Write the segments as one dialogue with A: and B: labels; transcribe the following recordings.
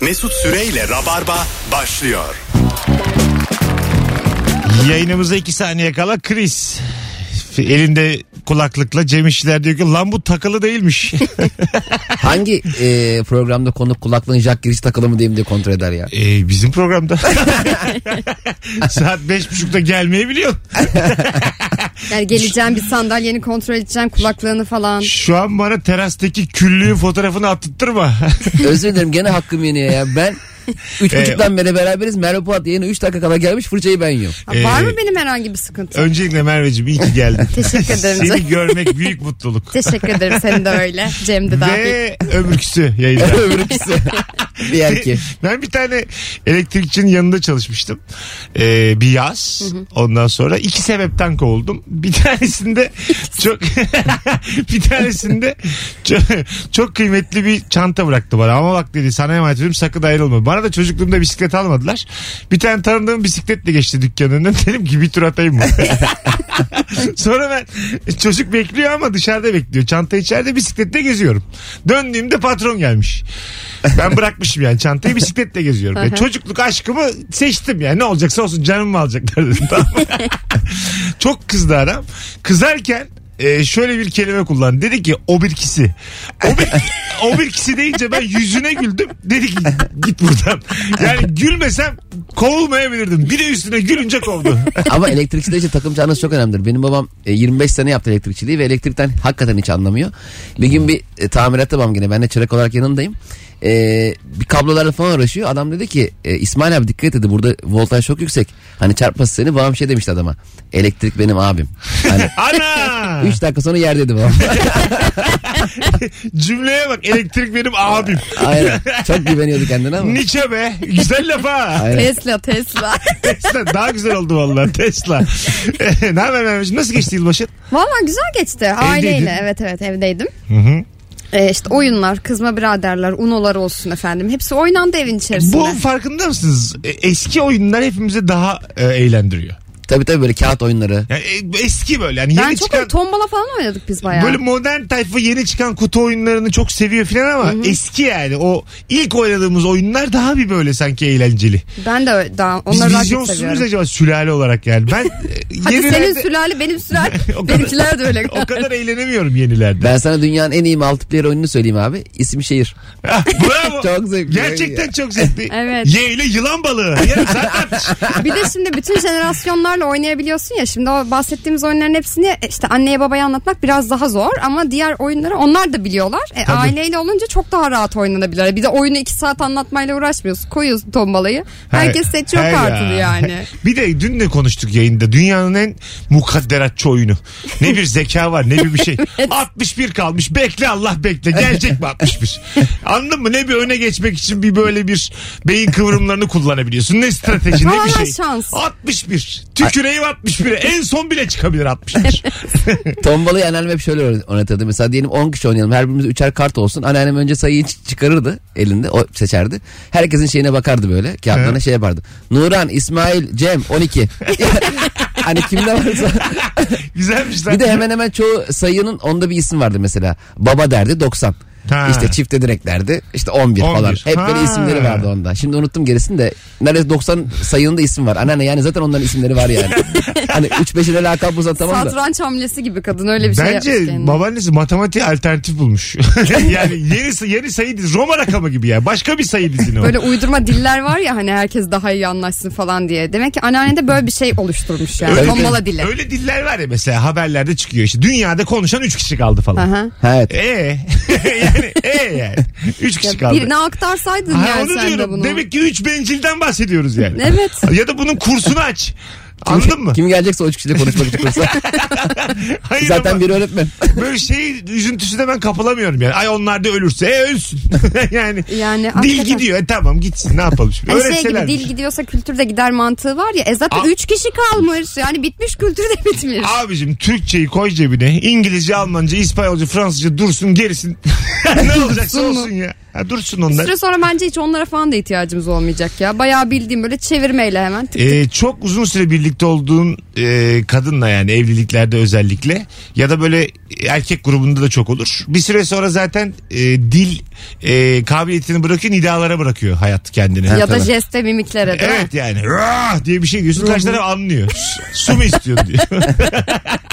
A: Mesut Süreyle Rabarba başlıyor.
B: Yayınımıza iki saniye kala Chris elinde kulaklıkla Cem İşçiler diyor ki lan bu takılı değilmiş.
C: Hangi e, programda konuk kulaklığın jack giriş takılı mı diyeyim diye kontrol eder ya.
B: Ee, bizim programda. Saat beş buçukta gelmeyebiliyor.
D: Yani geleceğim bir sandalyeni kontrol edeceğim kulaklığını falan.
B: Şu an bana terastaki küllüğün fotoğrafını attırtma.
C: Özür dilerim gene hakkım yeniyor ya. Ben üç
B: Ee,
C: buçuktan beri beraberiz. Merve Polat yayına 3 dakika kala gelmiş fırçayı ben yiyorum.
D: Ha, var
B: Ee,
D: mı benim herhangi bir sıkıntı?
B: Öncelikle Merveciğim iyi ki geldin.
D: Teşekkür ederim.
B: Seni görmek büyük mutluluk.
D: Teşekkür ederim senin de öyle. Cem de daha bir-
B: Ve öbürküsü yayında.
C: Öbürküsü. bir erkek.
B: Ben bir tane elektrikçinin yanında çalışmıştım. Ee, bir yaz. Ondan sonra iki sebepten kovuldum. Bir tanesinde çok bir tanesinde çok, çok kıymetli bir çanta bıraktı bana. Ama bak dedi sana emanet ediyorum sakın ayrılma. Bana da çocukluğumda bisiklet almadılar. Bir tane tanıdığım bisikletle geçti dükkanın önünden. Dedim ki bir tur atayım mı? Sonra ben çocuk bekliyor ama dışarıda bekliyor. Çanta içeride bisikletle geziyorum. Döndüğümde patron gelmiş. Ben bırakmışım yani çantayı bisikletle geziyorum. Yani çocukluk aşkımı seçtim yani ne olacaksa olsun canımı alacaklar dedim tamam mı? Çok kızdı adam. Kızarken e, şöyle bir kelime kullandı. Dedi ki o birkisi. O, bir, o birkisi deyince ben yüzüne güldüm. Dedi ki git buradan. Yani gülmesem kovulmayabilirdim. Bir de üstüne gülünce kovdu.
C: Ama elektrikçiler için takım çağınız çok önemlidir. Benim babam e, 25 sene yaptı elektrikçiliği ve elektrikten hakikaten hiç anlamıyor. Bir gün bir e, tamirat babam gene ben de çırak olarak yanındayım. E, bir kablolarla falan uğraşıyor. Adam dedi ki e, İsmail abi dikkat edin burada voltaj çok yüksek. Hani çarpması seni babam şey demişti adama. Elektrik benim abim. Hani
B: Ana!
C: 3 dakika sonra yer dedi babam.
B: Cümleye bak elektrik benim abim.
C: Aynen. Çok güveniyordu kendine ama.
B: Nietzsche be. Güzel laf ha.
C: Aynen.
D: Tesla Tesla.
B: Tesla daha güzel oldu vallahi Tesla. ne haber Mehmetciğim? Nasıl geçti yılbaşın?
D: Valla güzel geçti aileyle.
B: Evdeydin.
D: Evet evet evdeydim.
B: Hı hı.
D: Ee, işte oyunlar, kızma biraderler, unolar olsun efendim. Hepsi oynandı evin içerisinde.
B: Bu farkında mısınız? E, Eski oyunlar hepimizi daha e, eğlendiriyor.
C: Tabii tabii böyle kağıt oyunları.
B: Yani e, eski böyle yani
D: ben
B: yeni
D: çok
B: çıkan
D: tombala falan oynadık biz bayağı.
B: böyle modern tayfa yeni çıkan kutu oyunlarını çok seviyor filan ama eski yani o ilk oynadığımız oyunlar daha bir böyle sanki eğlenceli.
D: Ben de ö- daha
B: Biz
D: onları daha çok
B: vizyonsuz muyuz
D: seviyorum.
B: acaba sülale olarak yani? Ben e,
D: Hadi senin
B: yenilerde
D: sülale benim sülale.
B: O kadar-
D: Benimkiler de öyle.
B: o kadar eğlenemiyorum yenilerde.
C: Ben sana dünyanın en iyi multiplayer oyununu söyleyeyim abi. İsim şehir.
B: Ah, Bravo.
C: Çok zevkli oyun
B: Gerçekten çok zevkli.
D: Evet.
B: Ye ile yılan balığı. Yarım saat tartış.
D: Bir de şimdi bütün jenerasyonlarla oynayabiliyorsun ya. Şimdi o bahsettiğimiz oyunların hepsini e, işte anneye babaya anlatmak biraz daha zor. Ama diğer oyunları onlar da biliyorlar. E, aileyle olunca çok daha rahat oynanabilir. Bir de oyunu iki saat anlatmayla uğraşmıyorsun. Koyuyorsun tombalayı. Herkes
B: Hay-
D: seçiyor
B: hay
D: kartını
B: ya.
D: yani.
B: Bir de dün de konuştuk yayında. Dünyanın en mukadderatçı oyunu. Ne bir zeka var ne bir bir şey. 61 kalmış. Bekle Allah bekle. Gelecek mi 61? Anladın mı? Ne bir öne geçmek için bir böyle bir beyin kıvrımlarını kullanabiliyorsun. Ne strateji ne bir
D: Tamamen
B: şey.
D: şans.
B: 61. Tüküreyim 61'e. En son bile çıkabilir 61.
C: Tombalayı anneannem hep şöyle oyn- oynatırdı. Mesela diyelim 10 kişi oynayalım. Her birimiz üçer kart olsun. Anneannem önce sayıyı ç- çıkarırdı elinde. O seçerdi. Herkesin şeyine bakardı böyle. Kağıtlarına şey yapardı. Nuran, İsmail, Cem 12. hani kimde varsa.
B: Güzelmiş lan.
C: Bir de hemen hemen çoğu sayının onda bir isim vardı mesela. Baba derdi 90.
B: Ha.
C: İşte çifte direkt derdi. İşte 11,
B: 11.
C: falan. Hep
B: Ha.
C: böyle isimleri vardı onda. Şimdi unuttum gerisini de neredeyse 90 sayının da isim var. Anneanne yani zaten onların isimleri var yani. hani 3-5'ine lakap uzatamam da.
D: Satranç hamlesi gibi kadın öyle bir şey
B: Bence
D: yapmış kendine.
B: babaannesi matematiğe alternatif bulmuş. yani yeni, yeni sayı dizi Roma rakamı gibi ya. Başka bir sayı dizini o.
D: Böyle uydurma diller var ya hani herkes daha iyi anlaşsın falan diye. Demek ki anneanne de böyle bir şey oluşturmuş yani.
B: Öyle-
D: Tombala dili.
B: Öyle diller var ya mesela haberlerde çıkıyor işte. Dünyada konuşan 3 kişi kaldı falan.
D: Aha.
C: Evet.
B: Ee yani e yani 3 kişi kaldı.
D: Birine aktarsaydın
B: Ha,
D: yani
B: onu
D: sen de
B: diyorum.
D: bunu.
B: Demek ki 3 bencilden bahsediyoruz yani.
D: Evet.
B: Ya da bunun kursunu aç. Anladın mı?
C: Kim gelecekse o üç kişiyle konuşmak için kursa.
B: Hayır
C: Zaten
B: ama
C: bir öğretmen.
B: böyle şey üzüntüsü de ben kapılamıyorum yani. Ay onlar da ölürse e ölsün. yani,
D: Yani
B: dil
D: hakikaten.
B: gidiyor. E tamam gitsin ne yapalım şimdi.
D: Hani şey gibi
B: Öğretselermiş.
D: dil gidiyorsa kültür de gider mantığı var ya. E zaten
B: Aa.
D: 3 kişi kalmış. Yani bitmiş kültür de bitmiş.
B: Abicim Türkçeyi koy cebine. İngilizce, Almanca, İspanyolca, Fransızca dursun gerisin. ne olacaksa
D: Dursun mu?
B: olsun ya. Ha, dursun
D: Bir
B: onlar.
D: süre sonra bence hiç onlara falan da ihtiyacımız olmayacak ya. Bayağı bildiğim böyle çevirmeyle hemen.
B: Ee, çok uzun süre birlikte birlikte olduğun e, kadınla yani evliliklerde özellikle ya da böyle erkek grubunda da çok olur. Bir süre sonra zaten e, dil e, kabiliyetini bırakıyor nidalara bırakıyor hayat kendini.
D: ya da
C: tabii.
D: jeste mimiklere de.
B: Evet yani "Rah!" diye bir şey diyorsun karşı taraf anlıyor. Su- Su mu istiyorsun diyor.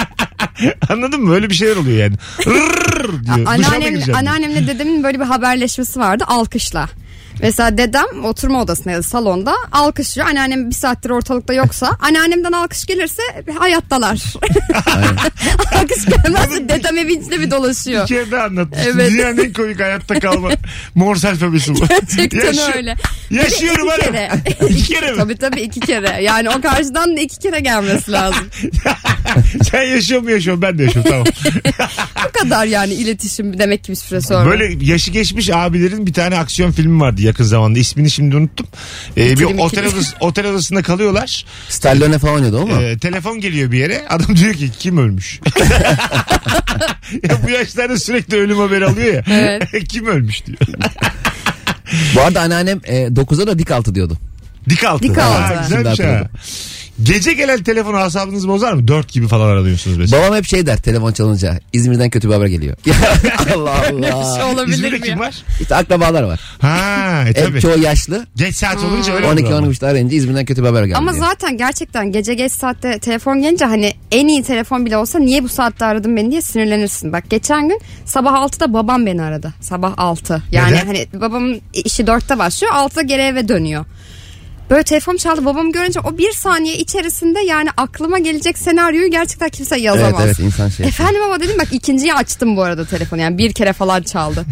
B: Anladın mı? Öyle bir şeyler oluyor yani. Rrrr diyor. Duşa mı
D: Anneannem,
B: gireceğim?
D: anneannemle dedemin böyle bir haberleşmesi vardı alkışla. Mesela dedem oturma odasında ya da salonda alkışlıyor. Anneannem bir saattir ortalıkta yoksa anneannemden alkış gelirse hayattalar. alkış gelmezse dedem evin içinde bir
B: Bir
D: dolaşıyor.
B: kere daha anlatmıştın.
D: Evet.
B: Dünyanın en komik hayatta kalma Morse alfabesi bu.
D: Gerçekten
B: Yaşıyor-
D: öyle.
B: Yaşıyorum
D: İki
B: hanım.
D: kere.
B: İki kere mi?
D: Tabii tabii iki kere. Yani o karşıdan da iki kere gelmesi lazım.
B: Sen yaşıyor mu yaşıyorum ben de yaşıyorum tamam.
D: Bu kadar yani iletişim demek ki bir süre sonra.
B: Böyle yaşı geçmiş abilerin bir tane aksiyon filmi vardı yakın zamanda. İsmini şimdi unuttum. Ee, bir
D: İkilim, ikilim.
B: otel, odası- otel odasında kalıyorlar.
C: Stallone falan oynuyordu ama.
B: Ee, telefon geliyor bir yere. Adam diyor ki kim ölmüş? ya bu yaşlarda sürekli ölüm haberi alıyor ya. kim ölmüş diyor.
C: Bu arada anneannem e, 9'a da dik altı diyordu.
B: Dik altı.
D: Dik altı.
B: Ha, güzelmiş
C: Şimdi
B: ha.
C: hatırladım.
B: Gece gelen telefonu asabınızı bozar mı? Dört gibi falan aranıyorsunuz mesela.
C: Babam hep şey der telefon çalınca. İzmir'den kötü bir haber geliyor. Allah
D: bir şey
C: Allah.
D: olabilir
B: İzmir'de
D: mi?
B: kim
D: ya?
B: var?
C: İşte akrabalar var.
B: Ha e,
C: Hep
B: tabii.
C: çoğu yaşlı.
B: Geç saat olunca öyle
C: 12
B: olur ama.
C: 13'te arayınca İzmir'den kötü bir haber geldi.
D: Ama
C: diye.
D: zaten gerçekten gece geç saatte telefon gelince hani en iyi telefon bile olsa niye bu saatte aradın beni diye sinirlenirsin. Bak geçen gün sabah 6'da babam beni aradı. Sabah 6. Yani
B: Neden?
D: hani babamın işi 4'te başlıyor 6'da geri eve dönüyor. Böyle telefon çaldı babamı görünce o bir saniye içerisinde yani aklıma gelecek senaryoyu gerçekten kimse
C: Evet
D: yazamaz.
C: evet insan şey.
D: Efendim ama dedim bak ikinciyi açtım bu arada telefonu yani bir kere falan çaldı.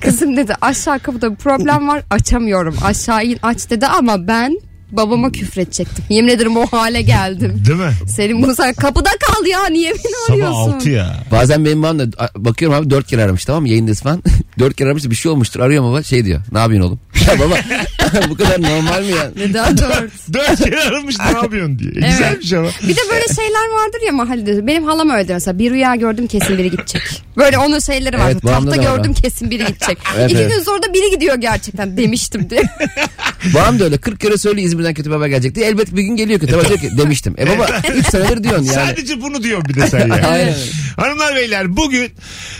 D: Kızım dedi aşağı kapıda bir problem var açamıyorum aşağı in aç dedi ama ben babama küfredecektim. Yemin ederim o hale geldim.
B: Değil mi?
D: Senin bunu sen kapıda kal ya niye beni
B: Sabah
D: arıyorsun?
B: altı ya.
C: Bazen benim babam da a- bakıyorum abi dört kere aramış tamam mı yayındayız falan. dört kere aramış bir şey olmuştur arıyor baba şey diyor ne yapıyorsun oğlum? Ya baba bu kadar normal mi ya?
D: Neden dört?
B: Dört kere aramış ne yapıyorsun diye. Güzelmiş ama.
D: Bir de böyle şeyler vardır ya mahallede. Benim halam öyle mesela. Bir rüya gördüm kesin biri gidecek. Böyle onun şeyleri var.
C: Evet, babamda
D: Tahta
C: da var
D: gördüm
C: o.
D: kesin biri gidecek.
C: Evet,
D: İki
C: evet.
D: gün sonra da biri gidiyor gerçekten demiştim diye.
C: Babam da öyle 40 kere söyle İzmir'den kötü bir haber gelecek diye. Elbet bir gün geliyor kötü haber diyor ki demiştim. E baba 3 senedir diyorsun yani.
B: Sadece bunu diyor bir de sen ya.
C: Aynen.
B: Hanımlar beyler bugün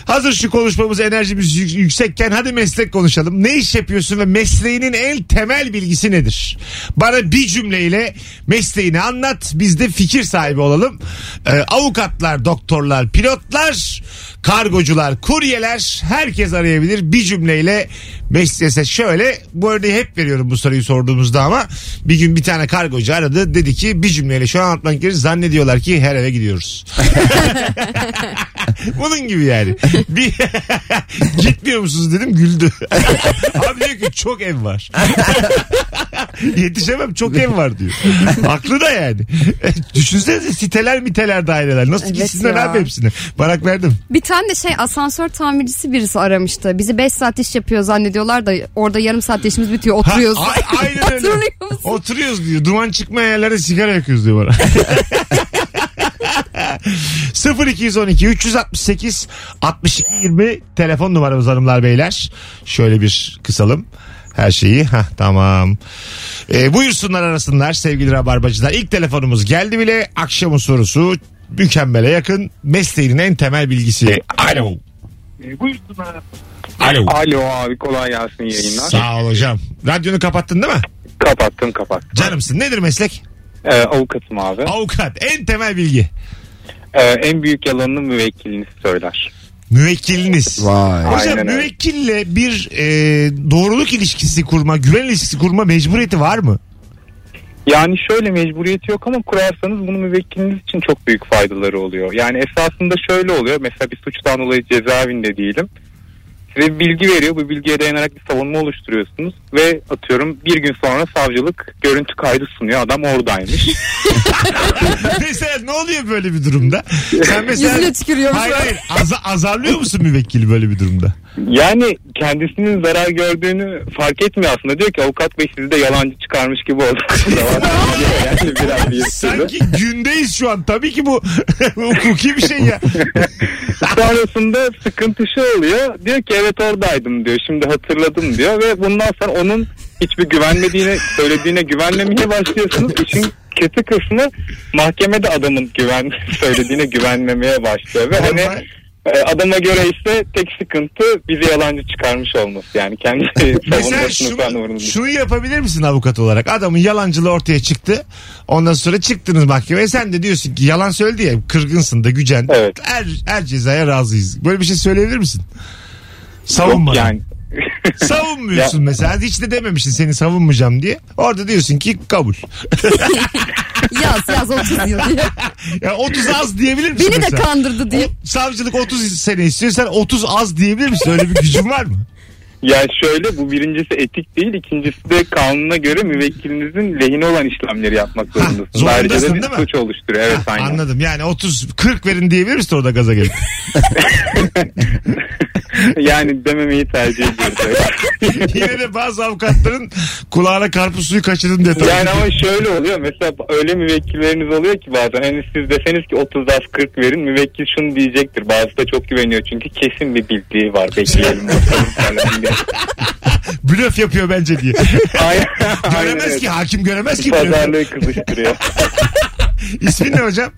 B: hazır şu konuşmamız enerjimiz yük- yüksekken hadi meslek konuşalım. Ne iş yapıyorsun ve mesleğinin en temel bilgisi nedir? Bana bir cümleyle mesleğini anlat biz de fikir sahibi olalım. Ee, avukatlar, doktorlar, pilotlar, kargocular, kuryeler herkes arayabilir. Bir cümleyle mesleğe şöyle bu örneği hep veriyorum bu soruyu sorduğumuzda ama bir gün bir tane kargocu aradı dedi ki bir cümleyle şu an anlatmak gerekir zannediyorlar ki her eve gidiyoruz. Bunun gibi yani. Bir gitmiyor musunuz dedim güldü. Abi diyor ki çok ev var. Yetişemem çok ev var diyor. Haklı da yani. Düşünsenize siteler miteler daireler. Nasıl
D: Evet
B: gitsinler
D: ya.
B: abi hepsine. Barak verdim.
D: Bir tane de şey asansör tamircisi birisi aramıştı. Bizi 5 saat iş yapıyor zannediyorlar da orada yarım saat işimiz bitiyor
B: Ha,
D: oturuyoruz.
B: a- aynen öyle.
D: Hatırlıyor musun?
B: Oturuyoruz diyor. Duman çıkmayan yerlere sigara yakıyoruz diyor bana. 0212 368 62 20 telefon numaramız hanımlar beyler. Şöyle bir kısalım her şeyi. Hah, tamam. Ee, buyursunlar arasınlar sevgili Rabarbacılar. İlk telefonumuz geldi bile. Akşamın sorusu mükemmele yakın. Mesleğinin en temel bilgisi. Alo. Alo.
E: Ee, Alo abi kolay gelsin yayınlar.
B: Sağ ol hocam. Radyonu kapattın değil mi?
E: Kapattım kapattım.
B: Canımsın. Nedir meslek?
E: Ee, avukatım abi.
B: Avukat. En temel bilgi.
E: Ee, en büyük yalanını müvekkiliniz söyler.
B: Müvekkiliniz.
C: Vay.
E: Aynen
B: Hocam
E: öyle.
B: müvekkille bir e, doğruluk ilişkisi kurma, güven ilişkisi kurma mecburiyeti var mı?
E: Yani şöyle mecburiyeti yok ama kurarsanız bunu müvekkiliniz için çok büyük faydaları oluyor. Yani esasında şöyle oluyor. Mesela bir suçtan dolayı cezaevinde diyelim. Size bir bilgi veriyor. Bu bilgiye dayanarak bir savunma oluşturuyorsunuz. Ve atıyorum bir gün sonra savcılık görüntü kaydı sunuyor. Adam oradaymış.
B: mesela ne oluyor böyle bir durumda? Sen mesela...
D: Yüzüne tükürüyormuş.
B: Hayır hayır. Aza- azarlıyor musun müvekkili böyle bir durumda?
E: Yani kendisinin zarar gördüğünü fark etmiyor aslında. Diyor ki avukat bey sizi de yalancı çıkarmış gibi oldu. yani biraz bir sürü.
B: Sanki gündeyiz şu an. Tabii ki bu hukuki bir şey ya.
E: Sonrasında sıkıntı şu oluyor. Diyor ki evet oradaydım diyor. Şimdi hatırladım diyor. Ve bundan sonra onun hiçbir güvenmediğine söylediğine güvenmemeye başlıyorsunuz. İşin şirketi kısmı mahkemede adamın güven söylediğine güvenmemeye başlıyor. Ve hani
B: Normal.
E: e, adama göre ise tek sıkıntı bizi yalancı çıkarmış olması. Yani kendi
B: Mesela
E: savunmasını falan
B: şunu,
E: uğrunda.
B: şunu yapabilir misin avukat olarak? Adamın yalancılığı ortaya çıktı. Ondan sonra çıktınız mahkemeye. Sen de diyorsun ki yalan söyledi ya kırgınsın da gücen.
E: Evet.
B: Her, her cezaya razıyız. Böyle bir şey söyleyebilir misin? Savunma.
E: Yani
B: Savunmuyorsun mesela. Hiç de dememişsin seni savunmayacağım diye. Orada diyorsun ki kabul.
D: Yaz yaz 30 yıl diye.
B: Ya 30 az diyebilir misin
D: Beni de
B: mesela?
D: kandırdı diye.
B: O- savcılık 30 sene istiyor. Sen 30 az diyebilir misin? Öyle bir gücün var mı?
E: Ya şöyle bu birincisi etik değil ikincisi de kanuna göre müvekkilinizin lehine olan işlemleri yapmak zorundasınız.
B: zorundasın
E: Ayrıca da bir
B: değil mi?
E: suç oluşturuyor. Evet aynen.
B: Anladım. Yani 30 40 verin diyebilir misin orada gaza gelip?
E: yani dememeyi tercih ediyoruz.
B: Yine de bazı avukatların kulağına karpuz suyu kaçırdın detayı.
E: yani ama şöyle oluyor mesela öyle müvekkilleriniz oluyor ki bazen hani siz deseniz ki 30 az 40 verin müvekkil şunu diyecektir. Bazısı da çok güveniyor çünkü kesin bir bildiği var bekleyelim. bakalım falan diye.
B: Blöf yapıyor bence diye.
E: Aynen, aynen,
B: göremez
E: evet.
B: ki hakim göremez ki blöf.
E: Pazarlığı kızıştırıyor.
B: İsmin ne hocam?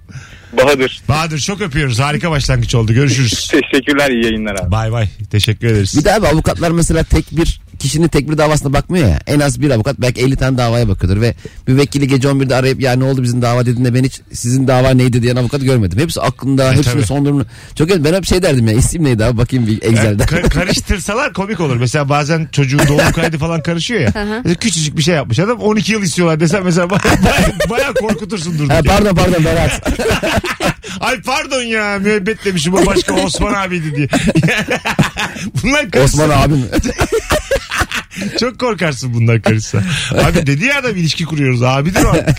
E: Bahadır.
B: Bahadır çok öpüyoruz. Harika başlangıç oldu. Görüşürüz.
E: Teşekkürler iyi yayınlar abi.
B: Bay bay. Teşekkür ederiz.
C: Bir de abi avukatlar mesela tek bir kişinin tek bir davasına bakmıyor ya. En az bir avukat belki 50 tane davaya bakıyordur ve müvekkili gece 11'de arayıp ya ne oldu bizim dava dediğinde ben hiç sizin dava neydi diyen avukat görmedim. Hepsi aklında, hepsinin
B: tabii.
C: son durumunu. Çok ben hep şey derdim ya isim neydi abi bakayım bir Excel'den.
B: Ka- karıştırsalar komik olur. Mesela bazen çocuğun doğum kaydı falan karışıyor ya. Mesela küçücük bir şey yapmış adam 12 yıl istiyorlar desem mesela baya, baya, baya korkutursun durduk.
C: Ha,
B: yere.
C: pardon pardon Berat.
B: Ay pardon ya müebbet demişim o başka Osman abiydi diye. Bunlar karışsa-
C: Osman abim.
B: Çok korkarsın bunlar karışsa. Abi dedi ya adam ilişki kuruyoruz. Abidir o artık.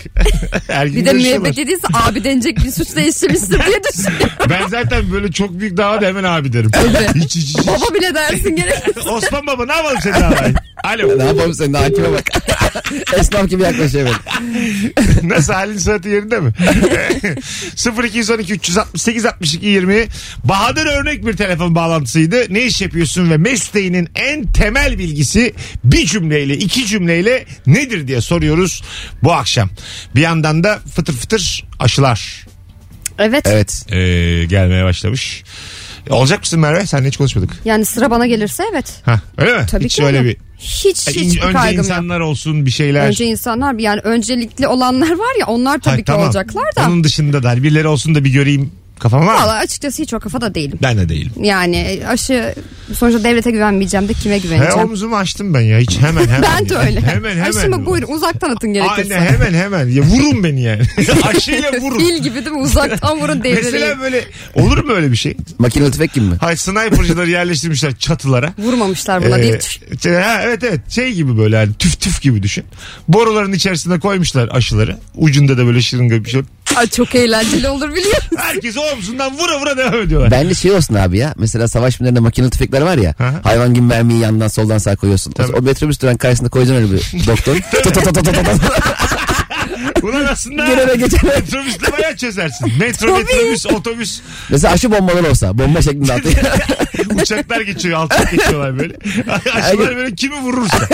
B: Her gün
D: Bir de
B: görüşüyorlar.
D: müebbet dediyse abi denecek bir suçla işlemişsin diye düşünüyorum.
B: Ben zaten böyle çok büyük davada hemen abi derim. hiç, hiç, hiç.
D: Baba bile dersin gerek.
B: Osman baba ne yapalım senin davayı? Alo.
C: ne yapalım senin de hakime bak. Esnaf gibi yaklaşıyor ben.
B: Nasıl halin sıhhati yerinde mi? 0212 368 62 20 Bahadır örnek bir telefon bağlantısıydı. Ne iş yapıyorsun ve mesleğinin en temel bilgisi bir cümleyle iki cümleyle nedir diye soruyoruz bu akşam. Bir yandan da fıtır fıtır aşılar
D: Evet.
C: Evet.
B: ee, gelmeye başlamış. E, Olacak mısın Merve? Seninle hiç konuşmadık.
D: Yani sıra bana gelirse evet.
B: Ha, öyle mi?
D: Tabii
B: hiç
D: ki
B: öyle
D: öyle.
B: bir.
D: Hiç
B: Yani
D: hiç
B: in- önce
D: kaygım yok.
B: insanlar olsun bir şeyler.
D: Önce insanlar yani öncelikli olanlar var ya onlar tabii
B: Ha,
D: ki
B: tamam.
D: olacaklar da.
B: Onun dışında da birileri olsun da bir göreyim kafam var mı?
D: Valla açıkçası hiç o kafada değilim.
B: Ben de değilim.
D: Yani aşı sonuçta devlete güvenmeyeceğim de kime
B: He,
D: güveneceğim?
B: omzumu açtım ben ya hiç hemen hemen.
D: ben de
B: ya.
D: öyle.
B: Hemen hemen.
D: Aşımı buyurun uzaktan atın gerekirse.
B: Aynen hemen hemen. Ya vurun beni yani. Aşıyla vurun.
D: Fil gibi değil mi? Uzaktan vurun devreleyin.
B: Mesela böyle olur mu öyle bir şey?
C: Makineli tüfek gibi mi?
B: Hayır sniper'cıları yerleştirmişler çatılara.
D: Vurmamışlar buna
B: Ee,
D: değil. Tüh.
B: şey- ha, evet evet şey gibi böyle hani tüf tüf gibi düşün. Boruların içerisine koymuşlar aşıları. Ucunda da böyle şırınga bir şey.
D: Ay, çok eğlenceli olur biliyor musun?
B: Herkes omzundan vura vura devam ediyorlar.
C: Ben de şey olsun abi ya. Mesela savaş filmlerinde makineli tüfekler var ya.
B: Hı hı.
C: Hayvan gibi mermiyi yandan soldan sağa koyuyorsun. O,
B: Tabii.
C: o metrobüs duran karşısında koyacaksın öyle bir doktor. Tut tut tut tut tut.
B: Ulan aslında
C: Gelene geçene.
B: metrobüsle bayağı çözersin. Metro,
D: Tabii.
B: metrobüs, otobüs.
C: Mesela aşı bombaları olsa. Bomba şeklinde atıyor.
B: Uçaklar geçiyor, altı geçiyorlar böyle. Aşılar böyle kimi vurursa.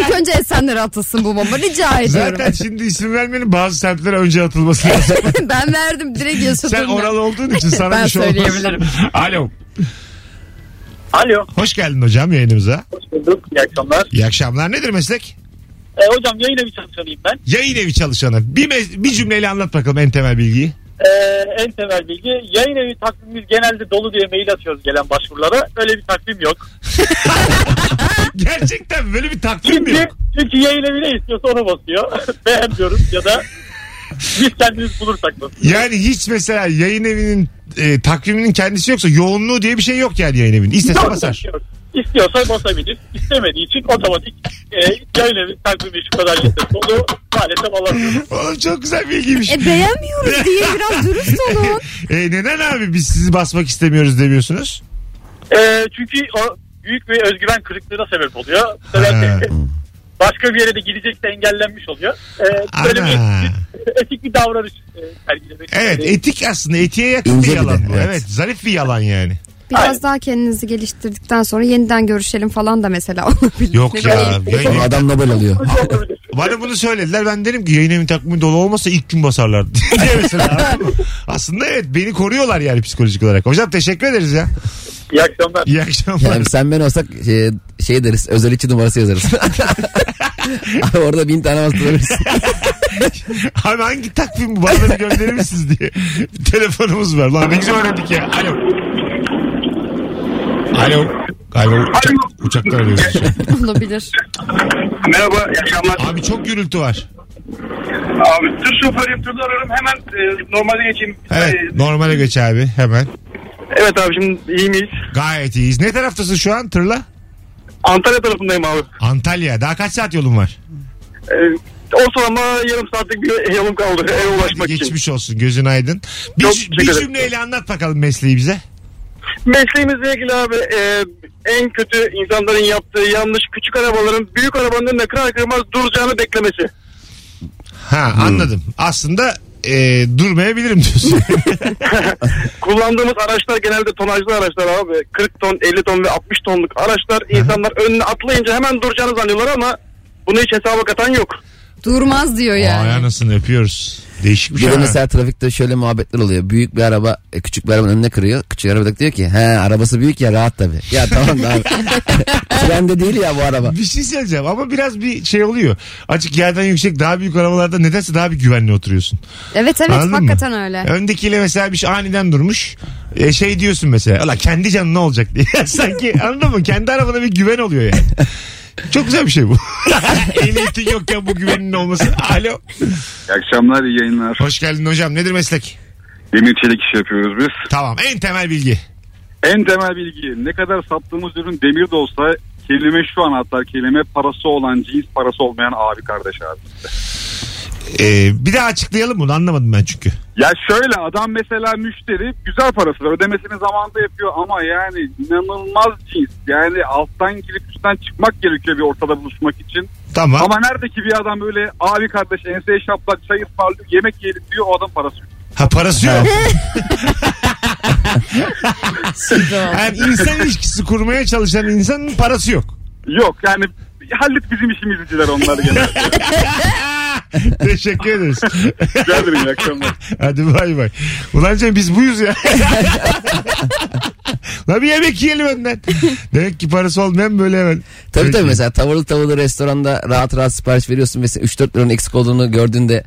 D: İlk önce Esenler atılsın bu bomba rica ediyorum.
B: Zaten şimdi isim vermenin bazı semtlere önce atılması lazım.
D: ben verdim direkt yaşadım.
B: Sen
D: ben.
B: oralı olduğun için sana
D: Ben
B: bir şey olmaz.
D: söyleyebilirim.
B: Alo.
F: Alo.
B: Hoş geldin hocam yayınımıza.
F: Hoş bulduk. İyi akşamlar.
B: İyi akşamlar. Nedir meslek?
F: E, hocam yayın evi çalışanıyım ben.
B: Yayın evi çalışanı. Bir, me- bir cümleyle anlat bakalım en temel bilgiyi.
F: E, en temel bilgi yayın evi takvimimiz genelde dolu diye mail atıyoruz gelen başvurulara. Öyle bir takvim yok.
B: Gerçekten böyle bir takvim mi
F: Çünkü,
B: yok?
F: çünkü yayın evi ne istiyorsa ona basıyor. Beğenmiyoruz ya da biz kendimiz bulursak basıyoruz.
B: Yani hiç mesela yayın evinin e, takviminin kendisi yoksa yoğunluğu diye bir şey yok yani yayın evinin. İstese
F: Yok,
B: basar.
F: yok. İstiyorsa basabilir. İstemediği için otomatik e, yayın evi takvimi şu kadar yeter. Dolu maalesef alamıyoruz.
B: Oğlum çok güzel bilgiymiş.
D: E beğenmiyoruz diye biraz dürüst olun.
B: E, neden abi biz sizi basmak istemiyoruz demiyorsunuz?
F: E, çünkü o büyük bir özgüven kırıklığına sebep oluyor. Sebep
B: Ha.
F: başka bir yere de gidecek de engellenmiş oluyor. Ee, böyle
B: Ana.
F: bir etik, etik bir davranış e, sergilemek.
B: Evet
F: Ee,
B: etik aslında etiğe yakın
C: İnce
B: bir
C: bir de,
B: yalan bu. Evet.
C: evet.
B: zarif bir yalan yani.
D: Biraz
F: Aynen.
D: daha kendinizi geliştirdikten sonra yeniden görüşelim falan da mesela olabilir.
B: Yok
D: Ne
B: ya.
D: bileyim.
B: yayın
C: Sonra
B: evi-
F: şey
C: adam Nobel alıyor.
F: olabilir.
B: Bana bunu söylediler. Ben dedim ki yayın evi takvimi dolu olmasa ilk gün basarlardı. diye mesela. anladın mı? Aslında evet beni koruyorlar yani psikolojik olarak. Hocam teşekkür ederiz ya.
F: İyi akşamlar.
B: İyi akşamlar.
C: Yani sen ben olsak şey, şey deriz özel içi numarası yazarız. Abi orada bin tane bastırırız.
B: Abi hangi takvim bu? Bana da bir gönderir misiniz diye. Bir telefonumuz var. Lan ne güzel öğrendik ya. Alo. Alo. Galiba uçak, uçaktan arıyorsun.
D: Olabilir.
G: Merhaba, iyi akşamlar.
B: Abi çok gürültü var.
G: Abi tır şoför yaptırdılar ararım hemen e, normale geçeyim.
B: Evet
G: E,
B: normale geç abi hemen.
G: evet abi şimdi iyi miyiz?
B: Gayet iyiyiz. Ne taraftasın şu an tırla?
G: Antalya tarafındayım abi.
B: Antalya. Daha kaç saat yolun var?
G: E, o sonra yarım saatlik bir yolum kaldı eve ulaşmak için.
B: Geçmiş olsun gözün aydın. Bir,
G: Çok
B: cü-
G: teşekkür
B: bir
G: ederim.
B: cümleyle anlat bakalım mesleği bize.
G: Mesleğimizle ilgili abi e, en kötü insanların yaptığı yanlış küçük arabaların büyük arabanın önüne kırar kırmaz duracağını beklemesi.
B: Ha
G: Hmm.
B: anladım. Aslında e, durmayabilirim diyorsun.
G: Kullandığımız araçlar genelde tonajlı araçlar abi. 40 ton, 50 ton ve 60 tonluk araçlar insanlar önüne atlayınca hemen duracağını zannediyorlar ama bunu hiç hesaba katan yok.
D: Durmaz diyor yani.
B: Vay anasını öpüyoruz. Değişik bir
C: Bir
B: şey.
C: de
B: ha.
C: mesela trafikte şöyle muhabbetler oluyor. Büyük bir araba e, küçük bir arabanın önüne kırıyor. Küçük araba da diyor ki he arabası büyük ya rahat tabii. Ya tamam da abi. Trende değil ya bu araba.
B: Bir şey söyleyeceğim ama biraz bir şey oluyor. Açık yerden yüksek daha büyük arabalarda nedense daha bir güvenli oturuyorsun.
D: Evet evet
B: Anladın
D: hakikaten
B: mı?
D: öyle.
B: Öndekiyle mesela bir şey aniden durmuş. E, şey diyorsun mesela. Allah kendi canına olacak diye. Sanki anladın mı? Kendi arabana bir güven oluyor yani. Çok güzel bir şey bu. Ehliyetin yokken bu güvenin olması. Alo.
H: İyi akşamlar, iyi yayınlar.
B: Hoş geldin hocam. Nedir meslek?
H: Demir çelik işi yapıyoruz biz.
B: Tamam. En temel bilgi.
H: En temel bilgi ne kadar sattığımız ürün demir de olsa kelime şu an hatta kelime parası olan cins parası olmayan abi kardeş abi.
B: Ee, bir daha açıklayalım bunu. Anlamadım ben çünkü.
H: Ya şöyle adam mesela müşteri güzel parası var ödemesini zamanında yapıyor ama yani inanılmaz cins. Yani alttan girip üstten çıkmak gerekiyor bir ortada buluşmak için.
B: Tamam.
H: Ama nerede ki bir adam böyle abi kardeş enseye şaplak çay ısmarlıyor yemek yiyelim diyor o adam parası yok.
B: Ha parası yok. yani insan ilişkisi kurmaya çalışan insanın parası yok.
H: Yok yani hallet bizim işimizciler onlar genelde.
B: Teşekkür ederiz.
H: Rica ederim iyi akşamlar.
B: Hadi bay bay. Ulan Cem biz buyuz ya. Lan bir yemek yiyelim önden. Demek ki parası olmayan böyle hemen.
C: Tabii
B: Peki.
C: tabii mesela tavırlı tavırlı restoranda rahat rahat sipariş veriyorsun ve sen 3-4 liranın eksik olduğunu gördüğünde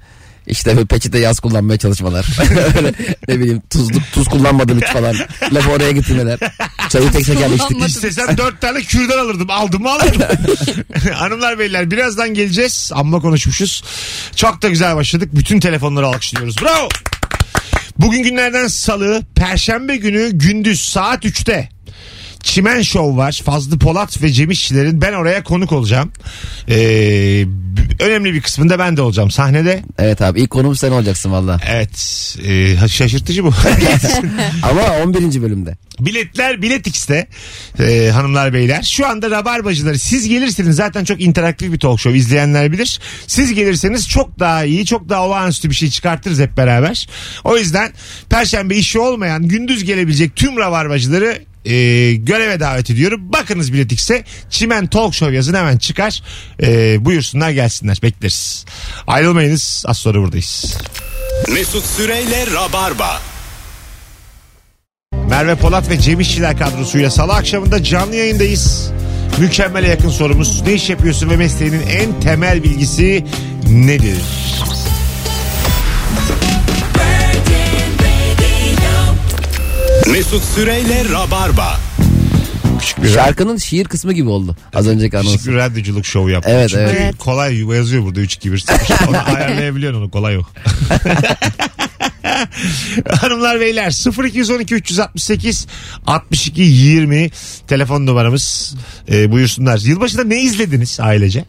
C: işte böyle peçete yaz kullanmaya çalışmalar. Böyle ne bileyim tuzluk tuz kullanmadım hiç falan. Lafı oraya getirmeler. Çayı tek şeker içtik.
B: İstesem dört tane kürdan alırdım. Aldım mı alırdım. Hanımlar beyler birazdan geleceğiz. Amma konuşmuşuz. Çok da güzel başladık. Bütün telefonları alkışlıyoruz. Bravo. Bugün günlerden salı. Perşembe günü gündüz saat 3'te. Çimen Show var. Fazlı Polat ve Cem İşçilerin. Ben oraya konuk olacağım. Ee, b- önemli bir kısmında ben de olacağım sahnede.
C: Evet abi ilk konum sen olacaksın valla.
B: Evet. Ee, şaşırtıcı bu.
C: Ama 11. bölümde.
B: Biletler Bilet X'te Ee, hanımlar beyler. Şu anda Rabarbacıları siz gelirseniz zaten çok interaktif bir talk show izleyenler bilir. Siz gelirseniz çok daha iyi çok daha olağanüstü bir şey çıkartırız hep beraber. O yüzden perşembe işi olmayan gündüz gelebilecek tüm Rabarbacıları e, göreve davet ediyorum. Bakınız Bilet X'e Çimen Talk Show yazın hemen çıkar. E, buyursunlar gelsinler bekleriz. Ayrılmayınız az sonra buradayız.
A: Mesut Süreyle Rabarba.
B: Merve Polat ve Cem İşçiler kadrosuyla salı akşamında canlı yayındayız. Mükemmele yakın sorumuz ne iş yapıyorsun ve mesleğinin en temel bilgisi nedir?
A: Mesut Süreyle Rabarba.
B: Küçük bir,
C: Şarkının şiir kısmı gibi oldu. Az önceki
B: küçük
C: anonsu.
B: bir radyoculuk şovu yaptık.
C: Evet,
B: Çünkü
C: evet.
B: kolay yazıyor burada 3 2 1 0. Onu ayarlayabiliyorsun onu kolay yok. Hanımlar beyler 0212 368 62 20 telefon numaramız Ee, buyursunlar. Yılbaşında ne izlediniz ailece?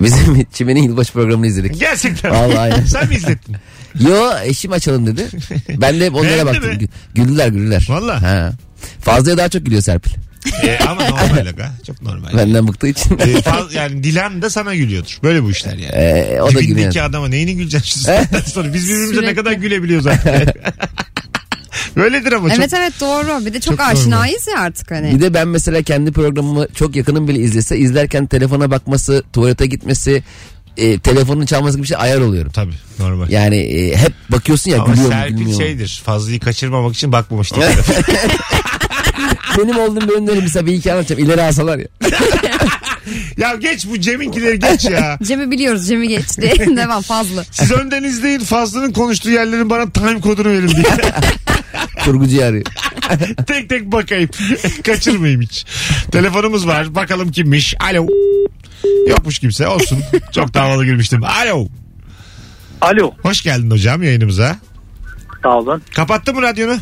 C: Bizim Çimen'in yılbaşı programını izledik.
B: Gerçekten.
C: Vallahi.
B: Sen mi izlettin?
C: Yo eşim açalım dedi. Ben de hep onlara
B: Beğendi
C: baktım.
B: mi?
C: Gü- Güldüler güldüler.
B: Vallahi.
C: Ha. Fazlaya daha çok gülüyor Serpil.
B: E, ama normal aga. Çok normal.
C: Benden bıktığı için.
B: E, faz- yani Dilan da sana gülüyordur. Böyle bu işler yani.
C: Ee, o da
B: Dibindeki
C: gülüyor.
B: adama neyini güleceksin şu saatten sonra? Biz birbirimize ne
D: Sürekli.
B: kadar gülebiliyoruz artık. Böyledir ama
D: Evet
B: çok.
D: evet doğru. Bir de çok,
B: Çok
D: aşinayız ya artık hani.
C: Bir de ben mesela kendi programımı çok yakınım bile izlese izlerken telefona bakması, tuvalete gitmesi, e, telefonun çalması gibi bir şey ayar oluyorum.
B: Tabii normal.
C: Yani e, hep bakıyorsun ya
B: Ama şey-
C: gülüyor mu
B: Serpil
C: gülmüyor mu?
B: şeydir. Fazlıyı kaçırmamak için bakmamıştır.
C: Benim olduğum bölümleri mesela bir iki anlatacağım. İleri alsalar ya.
B: ya geç bu Cem'inkileri geç ya.
D: Cem'i biliyoruz Cem'i geçti. Devam fazla.
B: Siz önden izleyin Fazlı'nın konuştuğu yerlerin bana time kodunu verin diye.
C: Kurgucu arıyor.
B: tek tek bakayım. Kaçırmayayım hiç. Telefonumuz var. Bakalım kimmiş. Alo. Yokmuş kimse. Olsun. Çok da havalı girmiştim. Alo.
F: Alo.
B: Hoş geldin hocam yayınımıza.
F: Sağ olun.
B: Kapattın mı radyonu?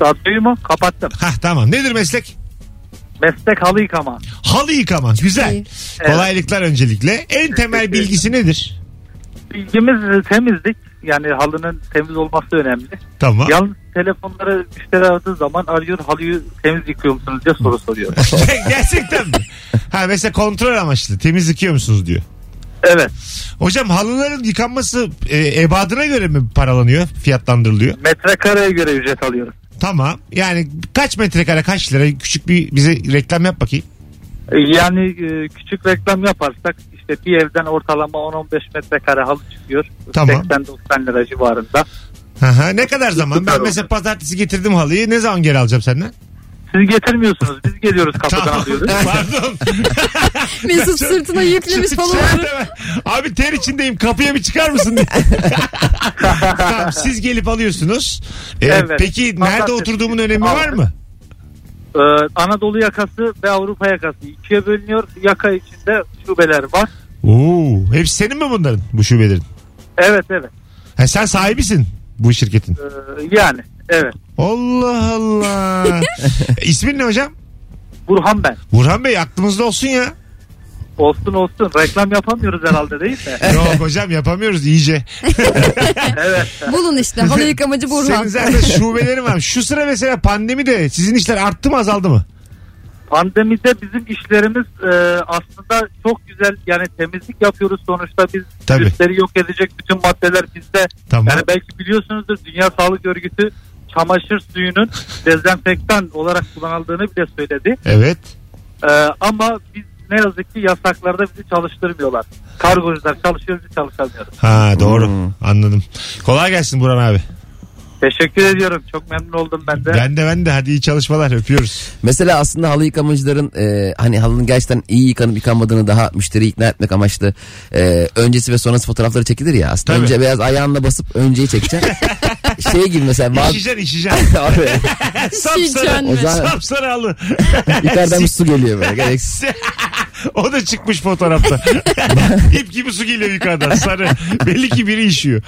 F: Radyoyu mu? Kapattım.
B: Hah tamam. Nedir meslek?
F: Meslek halı yıkama.
B: Halı yıkama. Güzel.
D: iyi.
B: Kolaylıklar öncelikle. En temel bilgisi nedir?
F: Bilgimiz e, temizlik. Yani halının temiz olması önemli.
B: Tamam.
F: Yalnız telefonlara müşteri aradığı zaman arıyor halıyı temiz yıkıyor musunuz diye soru soruyor.
B: Gerçekten mi? Ha mesela kontrol amaçlı. Temiz yıkıyor musunuz diyor.
F: evet.
B: Hocam halıların yıkanması e, ebadına göre mi paralanıyor? Fiyatlandırılıyor.
F: Metrekareye göre ücret alıyoruz.
B: Tamam. Yani kaç metrekare kaç lira? Küçük bir bize reklam yap bakayım.
F: E, Yani e, küçük reklam yaparsak işte bir evden ortalama 10-15 metrekare halı çıkıyor.
B: Tamam.
F: 80-90 lira civarında.
B: Hı hı. ne kadar zaman? Ben mesela pazartesi getirdim halıyı. Ne zaman geri alacağım senden?
F: Siz getirmiyorsunuz. Biz geliyoruz kapıdan
B: Tamam.
F: alıyoruz.
B: Pardon.
D: Mesut sırtına yüklemiş falan.
B: Abi ter içindeyim kapıya bir çıkar mısın diye. tamam, siz gelip alıyorsunuz. Ee,
F: Evet.
B: Peki nerede
F: Pazartesi
B: oturduğumun
F: günü
B: önemi var
F: aldım.
B: mı?
F: Ee, Anadolu yakası ve Avrupa yakası ikiye bölünüyor. Yaka içinde şubeler var.
B: Oo, hepsi senin mi bunların bu şubelerin?
F: Evet evet.
B: Ha, sen sahibisin bu şirketin.
F: Ee, yani evet.
B: Allah Allah. E, İsmin ne hocam?
F: Burhan ben.
B: Burhan Bey aklımızda olsun ya.
F: Olsun olsun. Reklam yapamıyoruz herhalde değil mi?
B: Yok hocam yapamıyoruz iyice.
F: evet.
D: Bulun işte halı yıkamacı
B: Senin
D: Burhan.
B: zaten şubelerin var. Şu sıra mesela pandemi de sizin işler arttı mı azaldı mı?
F: Pandemide bizim işlerimiz e, aslında çok güzel yani temizlik yapıyoruz sonuçta biz
B: Tabii.
F: virüsleri yok edecek bütün maddeler bizde.
B: Tamam.
F: Yani belki biliyorsunuzdur Dünya Sağlık Örgütü çamaşır suyunun dezenfektan olarak kullanıldığını bile söyledi.
B: Evet.
F: Ee, ama biz ne yazık ki yasaklarda bizi çalıştırmıyorlar. Kargocular çalışıyor biz çalışamıyoruz.
B: Ha doğru.
C: Hmm.
B: Anladım. Kolay gelsin Burhan abi.
F: Teşekkür ediyorum. Çok memnun oldum ben de.
B: Ben de ben de hadi iyi çalışmalar öpüyoruz.
C: Mesela aslında halı yıkamacıların e, hani halının gerçekten iyi yıkanıp yıkanmadığını daha müşteriyi ikna etmek amaçlı e, öncesi ve sonrası fotoğrafları çekilir ya. Aslında
B: Tabii.
C: önce beyaz ayağınla basıp önceyi çekeceksin. şey gibi mesela bazı...
B: İşeceksin işeceksin.
C: Abi,
B: Sapsarı.
C: o zaman
B: Sapsarı halı.
C: yukarıdan bir su geliyor böyle. Gereksiz.
B: o da çıkmış fotoğrafta. İp gibi su geliyor yukarıdan sarı. Belli ki biri işiyor.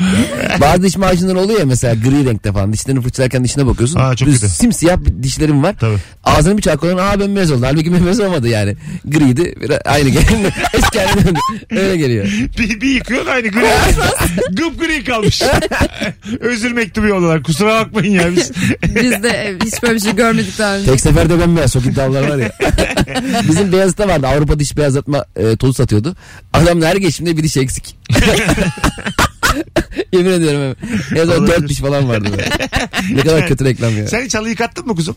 C: Bazı diş macunları oluyor ya mesela gri renkte falan. Dişlerini fırçalarken dişine bakıyorsun.
B: Aa, çok
C: Düz
B: kötü.
C: Simsiyah bir dişlerim var.
B: Tabii.
C: Ağzını bir çarpıyorsun. Aa ben beyaz oldum. Halbuki ben beyaz olmadı yani. Griydi. Biraz aynı geldi. Eski haline döndü. Öyle geliyor.
B: Bir, bir yıkıyorsun aynı gri. Gıp gri kalmış. Özür mektubu yolladılar. Kusura bakmayın ya biz.
D: Biz de e, hiç böyle bir şey görmedik daha önce.
C: Tek seferde ben beyaz. Çok iddialar var ya. Bizim beyazıta vardı. Avrupa diş beyazlatma e, tozu satıyordu. Adam da her geçimde bir diş eksik. Yemin ediyorum. hemen. En son
B: Olabilir.
C: dört diş falan vardı. böyle. ne kadar kötü reklam ya.
B: Sen hiç halı yıkattın mı kuzum?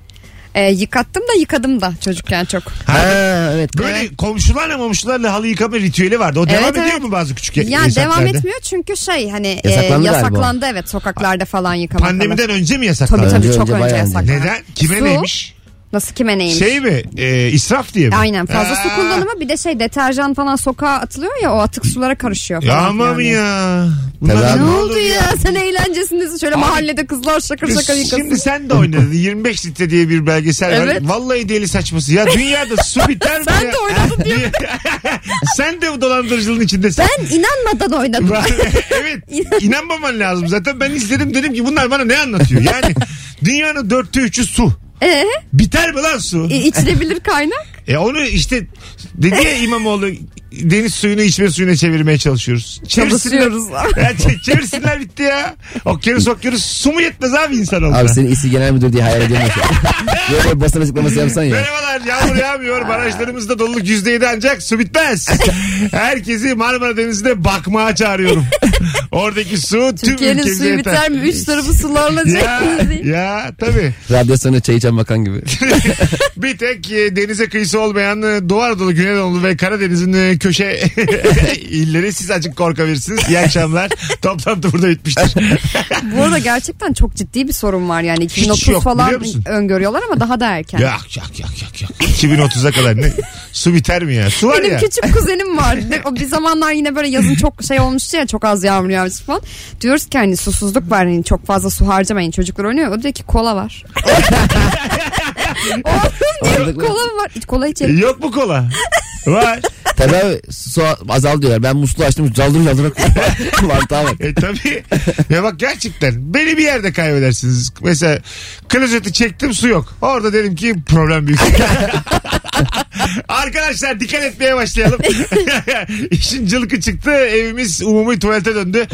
D: E, yıkattım da yıkadım da çocukken çok.
C: Ha, evet.
B: Böyle komşularla momşularla halı yıkama ritüeli vardı. O
D: Evet,
B: devam ediyor
D: evet.
B: mu bazı küçük
D: Yani devam
B: semtlerde?
D: etmiyor çünkü şey hani e,
C: Yasaklandı
D: yasaklandı,
C: galiba.
D: evet sokaklarda falan yıkamak. falan.
B: Pandemiden önce mi
D: Tabii
B: yasaklandı?
D: tabii
C: Önce-
D: çok
C: önce
D: önce,
C: bayağı önce.
D: yasaklandı.
B: Neden? Kime
D: Su.
B: neymiş?
D: Nasıl kime neymiş?
B: Şey mi? E, israf diye mi?
D: Aynen fazla
B: Aa,
D: su kullanımı bir de şey deterjan falan sokağa atılıyor ya o atık sulara karışıyor.
B: Ya
D: falan
B: aman
D: yani.
B: ya. Bunlar
C: Tabii abi.
D: Ne oldu ya sen eğlencesindesin şöyle mahallede kızlar şakır şakır yıkasın.
B: Şimdi sen de oynadın. 25 litre diye bir belgesel
D: Evet.
B: var. Vallahi deli saçması. Ya dünyada su biter mi
D: Sen
B: ya?
D: de oynadın
B: diye. sen de bu dolandırıcılığın içindesin.
D: Ben inanmadan oynadım.
B: evet. inanmaman lazım. Zaten ben izledim dedim ki bunlar bana ne anlatıyor? Yani dünyanın dörtte üçü su.
D: Ee,
B: Biter mi lan su?
D: e, içilebilir kaynak.
B: E onu işte dedi ya İmamoğlu deniz suyunu içme suyuna çevirmeye çalışıyoruz. Çevirsinler,
D: Çalışıyoruz.
B: Ya çe- çevirsinler bitti ya. Okyanus okyanus su mu yetmez abi insan
C: Abi senin İSİ Genel Müdür diye hayal ediyorum. Böyle basın açıklaması yapsan ya.
B: Merhabalar yağmur yağmıyor barajlarımızda doluluk yüzde yedi ancak su bitmez. Herkesi Marmara Denizi'ne bakmaya çağırıyorum. Oradaki su tüm
D: Türkiye'nin
B: ülkemize
D: suyu
B: yeter.
D: biter mi? Üç tarafı sularla
B: Ya,
D: çektiniz diye.
B: ya tabii.
C: Radyasyonu çay içen bakan gibi.
B: bir tek e, denize kıyısı olmayan e, Doğu Anadolu, Güneydoğu ve Karadeniz'in e, köşe illeri siz acık korkabilirsiniz. İyi akşamlar. Toplantı burada bitmiştir.
D: Bu arada gerçekten çok ciddi bir sorun var yani. 2030
B: yok, biliyor
D: falan
B: musun?
D: öngörüyorlar ama daha da erken.
B: yak yak yak yak yak. 2030'a kadar ne? Su biter mi ya? Su var
D: Benim
B: ya.
D: küçük kuzenim var. Ne- O bir zamanlar yine böyle yazın çok şey olmuştu ya çok az yağmur yağmış falan. Diyoruz ki hani susuzluk var hani çok fazla su harcamayın çocuklar oynuyor. O diyor ki kola var. Oğlum diyor
C: Aldık mı?
D: kola mı var? Hiç Kola içelim.
B: Yok mu kola? Var.
C: Tabii abi su azal diyorlar. Ben musluğu açtım. Caldır caldır. Mantığa bak.
B: E tabii. Ya bak gerçekten beni bir yerde kaybedersiniz. Mesela klozeti çektim su yok. Orada derim ki problem büyük. Arkadaşlar dikkat etmeye başlayalım. İşin cılkı çıktı. Evimiz umumi tuvalete döndü.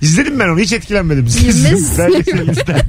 B: İzledim ben onu. Hiç etkilenmedim.
D: Bilmez.
B: Ben de seninizden. Ya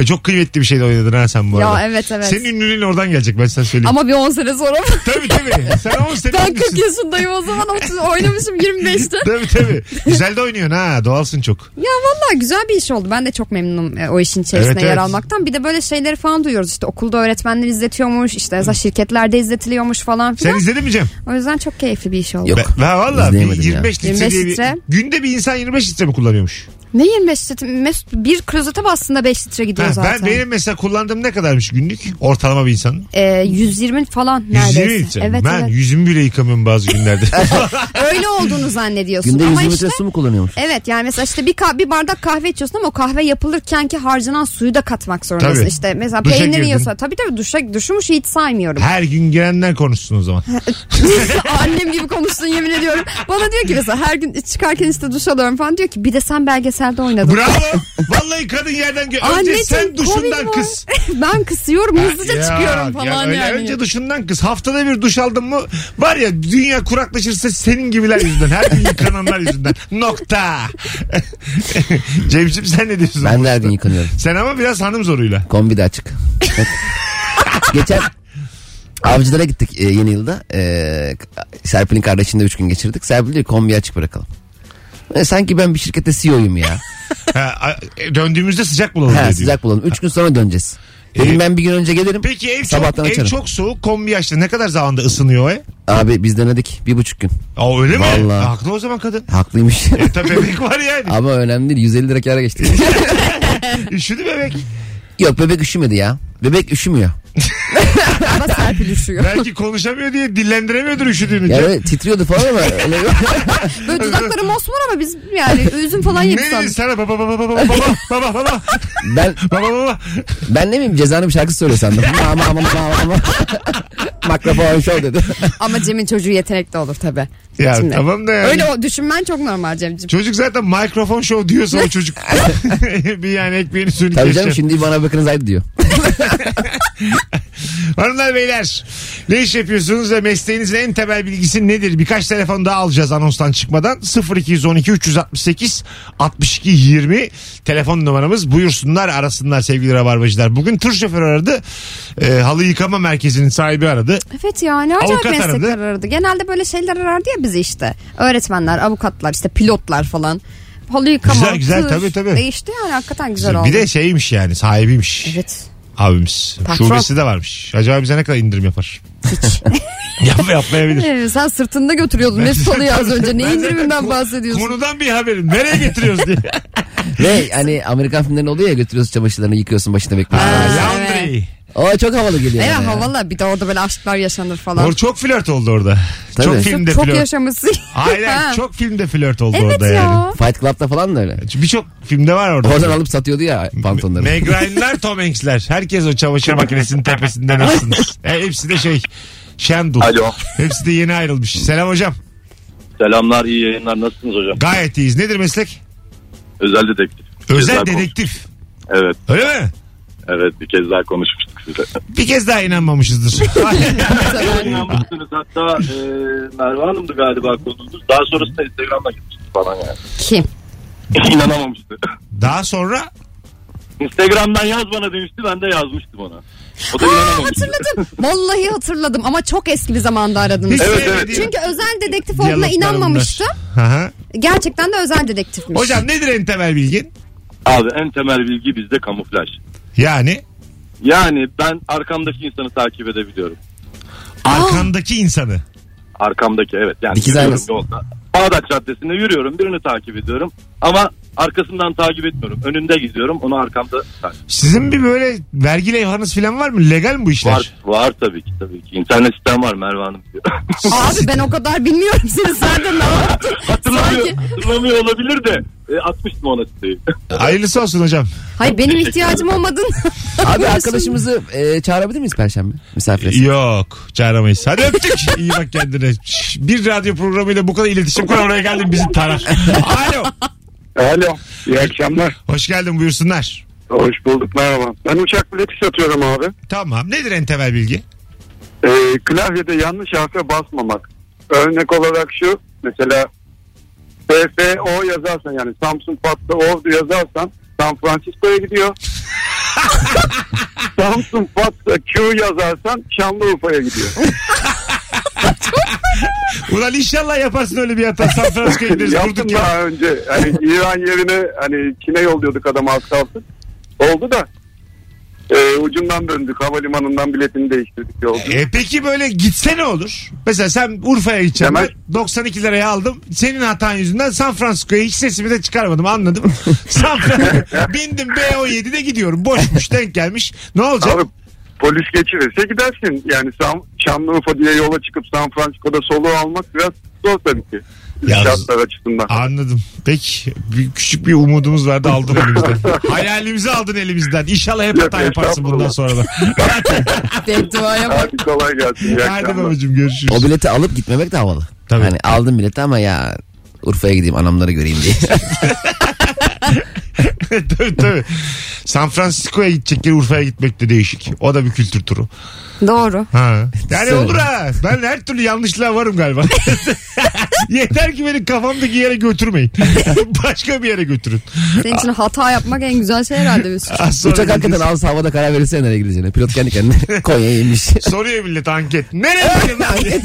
B: E, çok kıymetli bir şeyle oynadın ha sen bu
D: Ya
B: arada.
D: evet, evet.
B: Senin ünlülüğün oradan gelecek ben sana söyleyeyim.
D: Ama bir 10 sene sonra
B: Tabii tabii. Sen 10 sene
D: ben
B: ünlüsün.
D: 40 yaşındayım o zaman 30 oynamışım 25'te.
B: tabii tabii. Güzel de oynuyorsun ha. Doğalsın çok.
D: Ya valla güzel bir iş oldu. Ben de çok memnunum e, o işin içerisinde
B: Evet,
D: yer
B: evet.
D: almaktan. Bir de böyle şeyleri falan duyuyoruz. İşte okulda öğretmenler izletiyormuş. işte mesela şirketlerde izletiliyormuş falan
B: Sen
D: filan.
B: izledin mi Cem?
D: O yüzden çok keyifli bir iş oldu.
C: Yok.
B: Ben, ben valla bir
C: İzleyemedim ya.
B: 25 litre
D: 25
B: diye bir-
D: litre.
B: Günde bir insan 25 litre mi kullanıyormuş?
D: Ne 25 litre? Mesut bir klozete bastığında 5 litre gidiyor
B: Ha,
D: zaten.
B: ben benim mesela kullandığım ne kadarmış günlük? Ortalama bir insanın.
D: Ee, 120 falan neredeyse.
B: 120 litre.
D: Evet
B: ben
D: evet.
B: yüzümü bile yıkamıyorum bazı günlerde.
D: Öyle olduğunu zannediyorsun
C: Günde 100
D: ama
C: litre
D: işte
C: su mu kullanıyormuş?
D: Evet yani mesela işte bir, ka- bir bardak kahve içiyorsun ama o kahve yapılırken ki harcanan suyu da katmak zorundasın.
B: Tabii.
D: İşte mesela
B: Duşa
D: peynir
B: girdin.
D: yiyorsa tabii tabii duşa, duşumuş hiç saymıyorum.
B: Her gün girenler konuşsun o zaman.
D: Annem gibi konuştun yemin ediyorum. Bana diyor ki mesela her gün çıkarken işte duş alıyorum falan diyor ki bir de sen belgeselde oynadın.
B: Bravo. Vallahi kadın yerden gö- Önce
D: Anneciğim,
B: sen
D: Covid
B: duşundan
D: var.
B: kız.
D: ben kısıyorum hızlıca
B: Ya,
D: çıkıyorum
B: ya
D: falan
B: öyle
D: yani.
B: Önce duşundan kız. Haftada bir duş aldın mı var ya dünya kuraklaşırsa senin gibiler yüzünden. Her gün yıkananlar yüzünden. Nokta. Cemciğim sen ne diyorsun?
C: Ben de her gün yıkanıyorum.
B: Sen ama biraz hanım zoruyla.
C: Kombi de açık. Geçen avcılara gittik e, yeni yılda. E, Serpil'in kardeşinde 3 gün geçirdik. Serpil diyor kombi açık bırakalım. E, sanki ben bir şirkette CEO'yum ya.
B: Ha, a- e, döndüğümüzde sıcak bulalım diye
C: ha,
B: diyor.
C: sıcak bulalım. 3 gün sonra döneceğiz. Dedim
B: E,
C: ben bir gün önce gelirim.
B: Peki ev çok,
C: Sabahtan
B: ev
C: açarım.
B: çok soğuk kombi açtı. Ne kadar zamanda ısınıyor o ev?
C: Abi biz denedik bir buçuk gün.
B: Aa, öyle mi?
C: Vallahi.
B: Ha, Haklı o zaman kadın.
C: Haklıymış.
B: E tabi bebek var yani.
C: Ama önemli değil. 150 lira kâra geçtik.
B: Üşüdü bebek.
C: Yok bebek üşümedi ya. Bebek üşümüyor.
D: Ama Serpil üşüyor.
B: Belki konuşamıyor diye dillendiremiyordur üşüdüğünü.
C: Yani öyle titriyordu falan ama öyle
D: Böyle dudakları mosmor ama biz yani üzüm falan
B: ne
D: yedik
B: dedi
D: sandık.
B: sana baba baba baba baba baba baba
C: ben
B: baba baba
C: ben ne bileyim cezanın bir şarkısı söylüyor sandım. Ama ama ama ama. Makrofon şov dedi.
D: Ama Cem'in çocuğu yetenekli olur tabi.
B: Ya tamam da yani.
D: Öyle o düşünmen çok normal Cem'ciğim.
B: Çocuk zaten mikrofon show diyorsa o çocuk. bir yani ekmeğini suyunu
C: Tabii
B: kesecek.
C: canım şimdi bana bakınız haydi diyor.
B: Hanımlar beyler ne iş yapıyorsunuz ve mesleğinizin en temel bilgisi nedir? Birkaç telefon daha alacağız anonstan çıkmadan. 0212 368 62 20 telefon numaramız. Buyursunlar arasınlar sevgili rabarbacılar. Bugün tur şoförü aradı. E, halı yıkama merkezinin sahibi aradı.
D: Evet ya ne acayip
B: Avukat aradı.
D: meslekler aradı. Genelde böyle şeyler arardı ya bizi işte. Öğretmenler, avukatlar, işte pilotlar falan. Halı yıkama.
B: Güzel, güzel,
D: tır.
B: tabii, tabii.
D: E işte yani hakikaten güzel oldu.
B: bir de şeymiş yani sahibiymiş.
D: Evet.
B: Abimiz.
D: Patron.
B: Şubesi de varmış. Acaba bize ne kadar indirim yapar? Hiç. Yap, yapmayabilir.
D: Ee, sen sırtında götürüyordun Mesut Halı'yı az önce. Ne indiriminden bahsediyorsun?
B: Konudan bir haberim. Nereye getiriyoruz diye.
C: Ve hani Amerikan filmlerinde oluyor ya götürüyorsun çamaşırlarını yıkıyorsun başında bekliyorsun.
B: Laundry.
C: O çok havalı geliyor.
D: Evet
C: bana ya.
D: havalı bir de orada böyle aşklar yaşanır falan.
B: Or çok flört oldu orada.
C: Tabii.
B: Çok
C: Çok-
B: filmde
D: çok
B: flört.
D: yaşaması.
B: Aynen
D: Ha.
B: çok filmde flört oldu
D: Evet
B: orada
D: ya.
B: yani.
C: Fight Club'da falan da öyle.
B: Birçok filmde var orada.
C: Oradan alıp satıyordu ya pantolonları.
B: Meg Ryan'lar, Tom Hanks'ler. Herkes o çamaşır makinesinin tepesinden ısınır. E, hepsi de şey. Şendul.
I: Alo.
B: Hepsi de yeni ayrılmış. Selam hocam.
I: Selamlar, iyi yayınlar. Nasılsınız hocam?
B: Gayet iyiyiz. Nedir meslek?
I: Özel dedektif. Bir kez daha
B: Özel
I: konuş-
B: dedektif.
I: Evet,
B: Öyle mi?
I: evet. Bir kez daha konuşmuştuk size.
B: Bir kez daha inanmamışızdır.
I: İnanmışsınız hatta e, Merve Hanım'dı galiba konumuz. Daha sonrasında Instagram'da gitmiştik falan yani.
D: Kim?
I: İnanamamıştı.
B: Daha sonra
I: Instagram'dan yaz bana demişti, ben de yazmıştım ona. O da
D: Aa,
I: inanamamıştı.
D: hatırladım. Vallahi hatırladım ama çok eski bir zamanda aradınız.
B: hiç
I: Evet, evet.
B: sevmediğim
D: Çünkü özel dedektif olduğuna
B: diyaloglar
D: inanmamıştım.
B: bunlar. Hı hı.
D: Gerçekten de özel dedektifmiş.
B: Hocam nedir en temel bilgin?
I: Abi en temel bilgi bizde kamuflaj.
B: Yani
I: Yani ben arkamdaki insanı takip edebiliyorum.
B: Arkandaki insanı.
I: Arkamdaki evet. Yani
C: Dikiz
I: yürüyorum
C: aynası.
I: yolda. Bağdat Caddesi'nde yürüyorum birini takip ediyorum. Ama arkasından takip etmiyorum. Önünde gidiyorum onu arkamda takip
B: Sizin bir böyle vergi levhanız falan var mı? Legal mi bu işler?
I: Var, var tabii ki tabii ki. İnternet sistem var Merve Hanım diyor.
D: Abi ben o kadar bilmiyorum seni sen de ne yaptın?
I: hatırlamıyor,
D: Sanki-
I: hatırlamıyor olabilir de e, atmıştım ona siteyi.
B: Hayırlısı olsun hocam.
D: Hayır benim ihtiyacım olmadın.
C: Abi arkadaşımızı e, çağırabilir miyiz Perşembe? Misafir
B: Yok çağıramayız. Hadi öptük. İyi bak kendine. Şş, Bir radyo programıyla bu kadar iletişim kur oraya geldim bizim taraf. Alo.
G: Alo iyi akşamlar.
B: Hoş geldin buyursunlar.
G: Hoş bulduk merhaba. Ben uçak bileti satıyorum abi.
B: Tamam nedir en temel bilgi?
G: Ee, klavyede yanlış harfe basmamak. Örnek olarak şu mesela FFO yazarsan yani Samsung Fat'ta Ordu yazarsan San Francisco'ya gidiyor. Samsung Fat'ta Q yazarsan Şanlıurfa'ya gidiyor.
B: Ulan inşallah yaparsın öyle bir hata. San Francisco'ya gideriz.
G: Yaptım
B: Durduk ya.
G: daha önce. Hani İran yerine hani Çin'e yolluyorduk adamı az kalsın. Oldu da ee, ucundan döndük. Havalimanından biletini değiştirdik yolda.
B: E peki böyle gitse ne olur? Mesela sen Urfa'ya gideceksin.
G: Hemen.
B: Ben 92 liraya aldım. Senin hatan yüzünden San Francisco'ya hiç sesimi de çıkarmadım anladım. San Francisco. Bindim B17'de gidiyorum. Boşmuş denk gelmiş. Ne olacak?
G: Abi polis geçirirse gidersin. Yani San, Şanlıurfa diye yola çıkıp San Francisco'da soluğu almak biraz zor tabii ki.
B: Yalnız-
G: Şartlar açısından.
B: Anladım. Peki. Bir, küçük bir umudumuz vardı aldın elimizden. Hayalimizi aldın elimizden. İnşallah hep
G: Yok,
B: hata yaparsın
G: estağfurullah.
B: bundan sonra da.
D: Bedduaya bak.
G: Hadi kolay gelsin. iyi
B: Hadi
G: akşamlar.
B: babacığım görüşürüz.
C: O bileti alıp gitmemek de havalı.
B: Tabii.
C: Hani aldım bileti ama ya Urfa'ya gideyim anamları göreyim diye.
B: tabii tabii. San Francisco'ya gidecekleri Urfa'ya gitmek de değişik. O da bir kültür turu.
D: Doğru.
B: Ha. Yani
C: Sen-
B: olur ha. Ben her türlü yanlışlığa varım galiba. Yeter ki beni kafamdaki yere götürmeyin. Başka bir yere götürün.
D: Senin için hata yapmak en güzel şey herhalde Mesut.
B: Az sonra
C: Uçak
B: geleceğiz.
C: hakikaten alsa havada karar verirse nereye gideceğine. Pilot kendi kendine Konya'ya inmiş.
B: Soruyor millet anket. Nereye gidelim lan diye.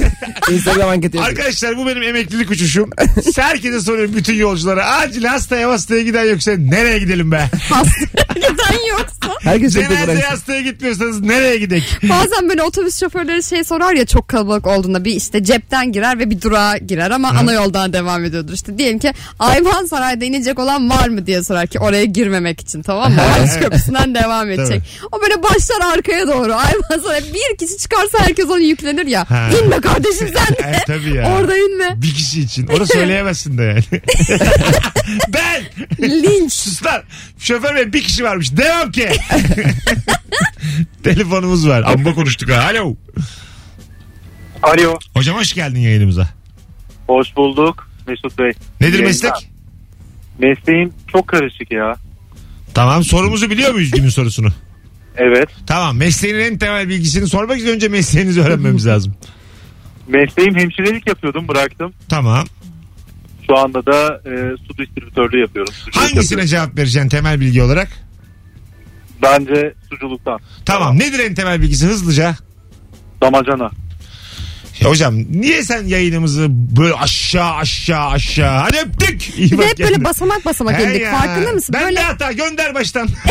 C: Instagram anketi yapıyor.
B: Arkadaşlar bu benim emeklilik uçuşum. Herkese soruyorum bütün yolculara. Acil hastaya hastaya giden yoksa nereye gidelim be?
D: Neden yoksa?
C: Herkes çok
B: Cenazeye
C: bıraksın.
B: hastaya gitmiyorsanız nereye gidek?
D: Bazen böyle otobüs şoförleri şey sorar ya çok kalabalık olduğunda bir işte cepten girer ve bir durağa girer ama ana yoldan devam ediyordur. İşte diyelim ki Ayvansaray'da inecek olan var mı diye sorar ki oraya girmemek için tamam mı? Boğaziçi Köprüsü'nden devam edecek. O böyle başlar arkaya doğru Ayvansaray bir kişi çıkarsa herkes onu yüklenir ya.
B: Ha.
D: İnme kardeşim sen de.
B: E, tabii ya.
D: Orada inme.
B: Bir kişi için. Onu söyleyemezsin de yani. ben.
D: Linç.
B: Sus lan. Şoför bey bir kişi varmış. Devam ki. Telefonumuz var. Amma konuştuk ha. Alo.
I: Alo.
B: Hocam hoş geldin yayınımıza.
I: Hoş bulduk Mesut Bey.
B: Nedir
I: Yayınlar.
B: meslek?
I: Mesleğim çok karışık ya.
B: Tamam sorumuzu biliyor muyuz günün sorusunu?
I: Evet.
B: Tamam mesleğin en temel bilgisini sormak için önce mesleğinizi öğrenmemiz lazım.
I: Mesleğim hemşirelik yapıyordum bıraktım.
B: Tamam.
I: Şu anda da e, su distribütörlüğü yapıyorum. Suculuk
B: Hangisine
I: yapıyorum.
B: cevap vereceksin temel bilgi olarak?
I: Bence suculuktan.
B: Tamam. Nedir en temel bilgisi hızlıca?
I: Damacana.
B: Ya hocam niye sen yayınımızı böyle aşağı aşağı aşağı hadi öptük. İyi
D: Ve
B: bak
D: hep böyle
B: kendine.
D: basamak basamak
B: He
D: indik.
B: ya.
D: Farkında mısın?
B: Ben
D: böyle
B: de hata gönder baştan.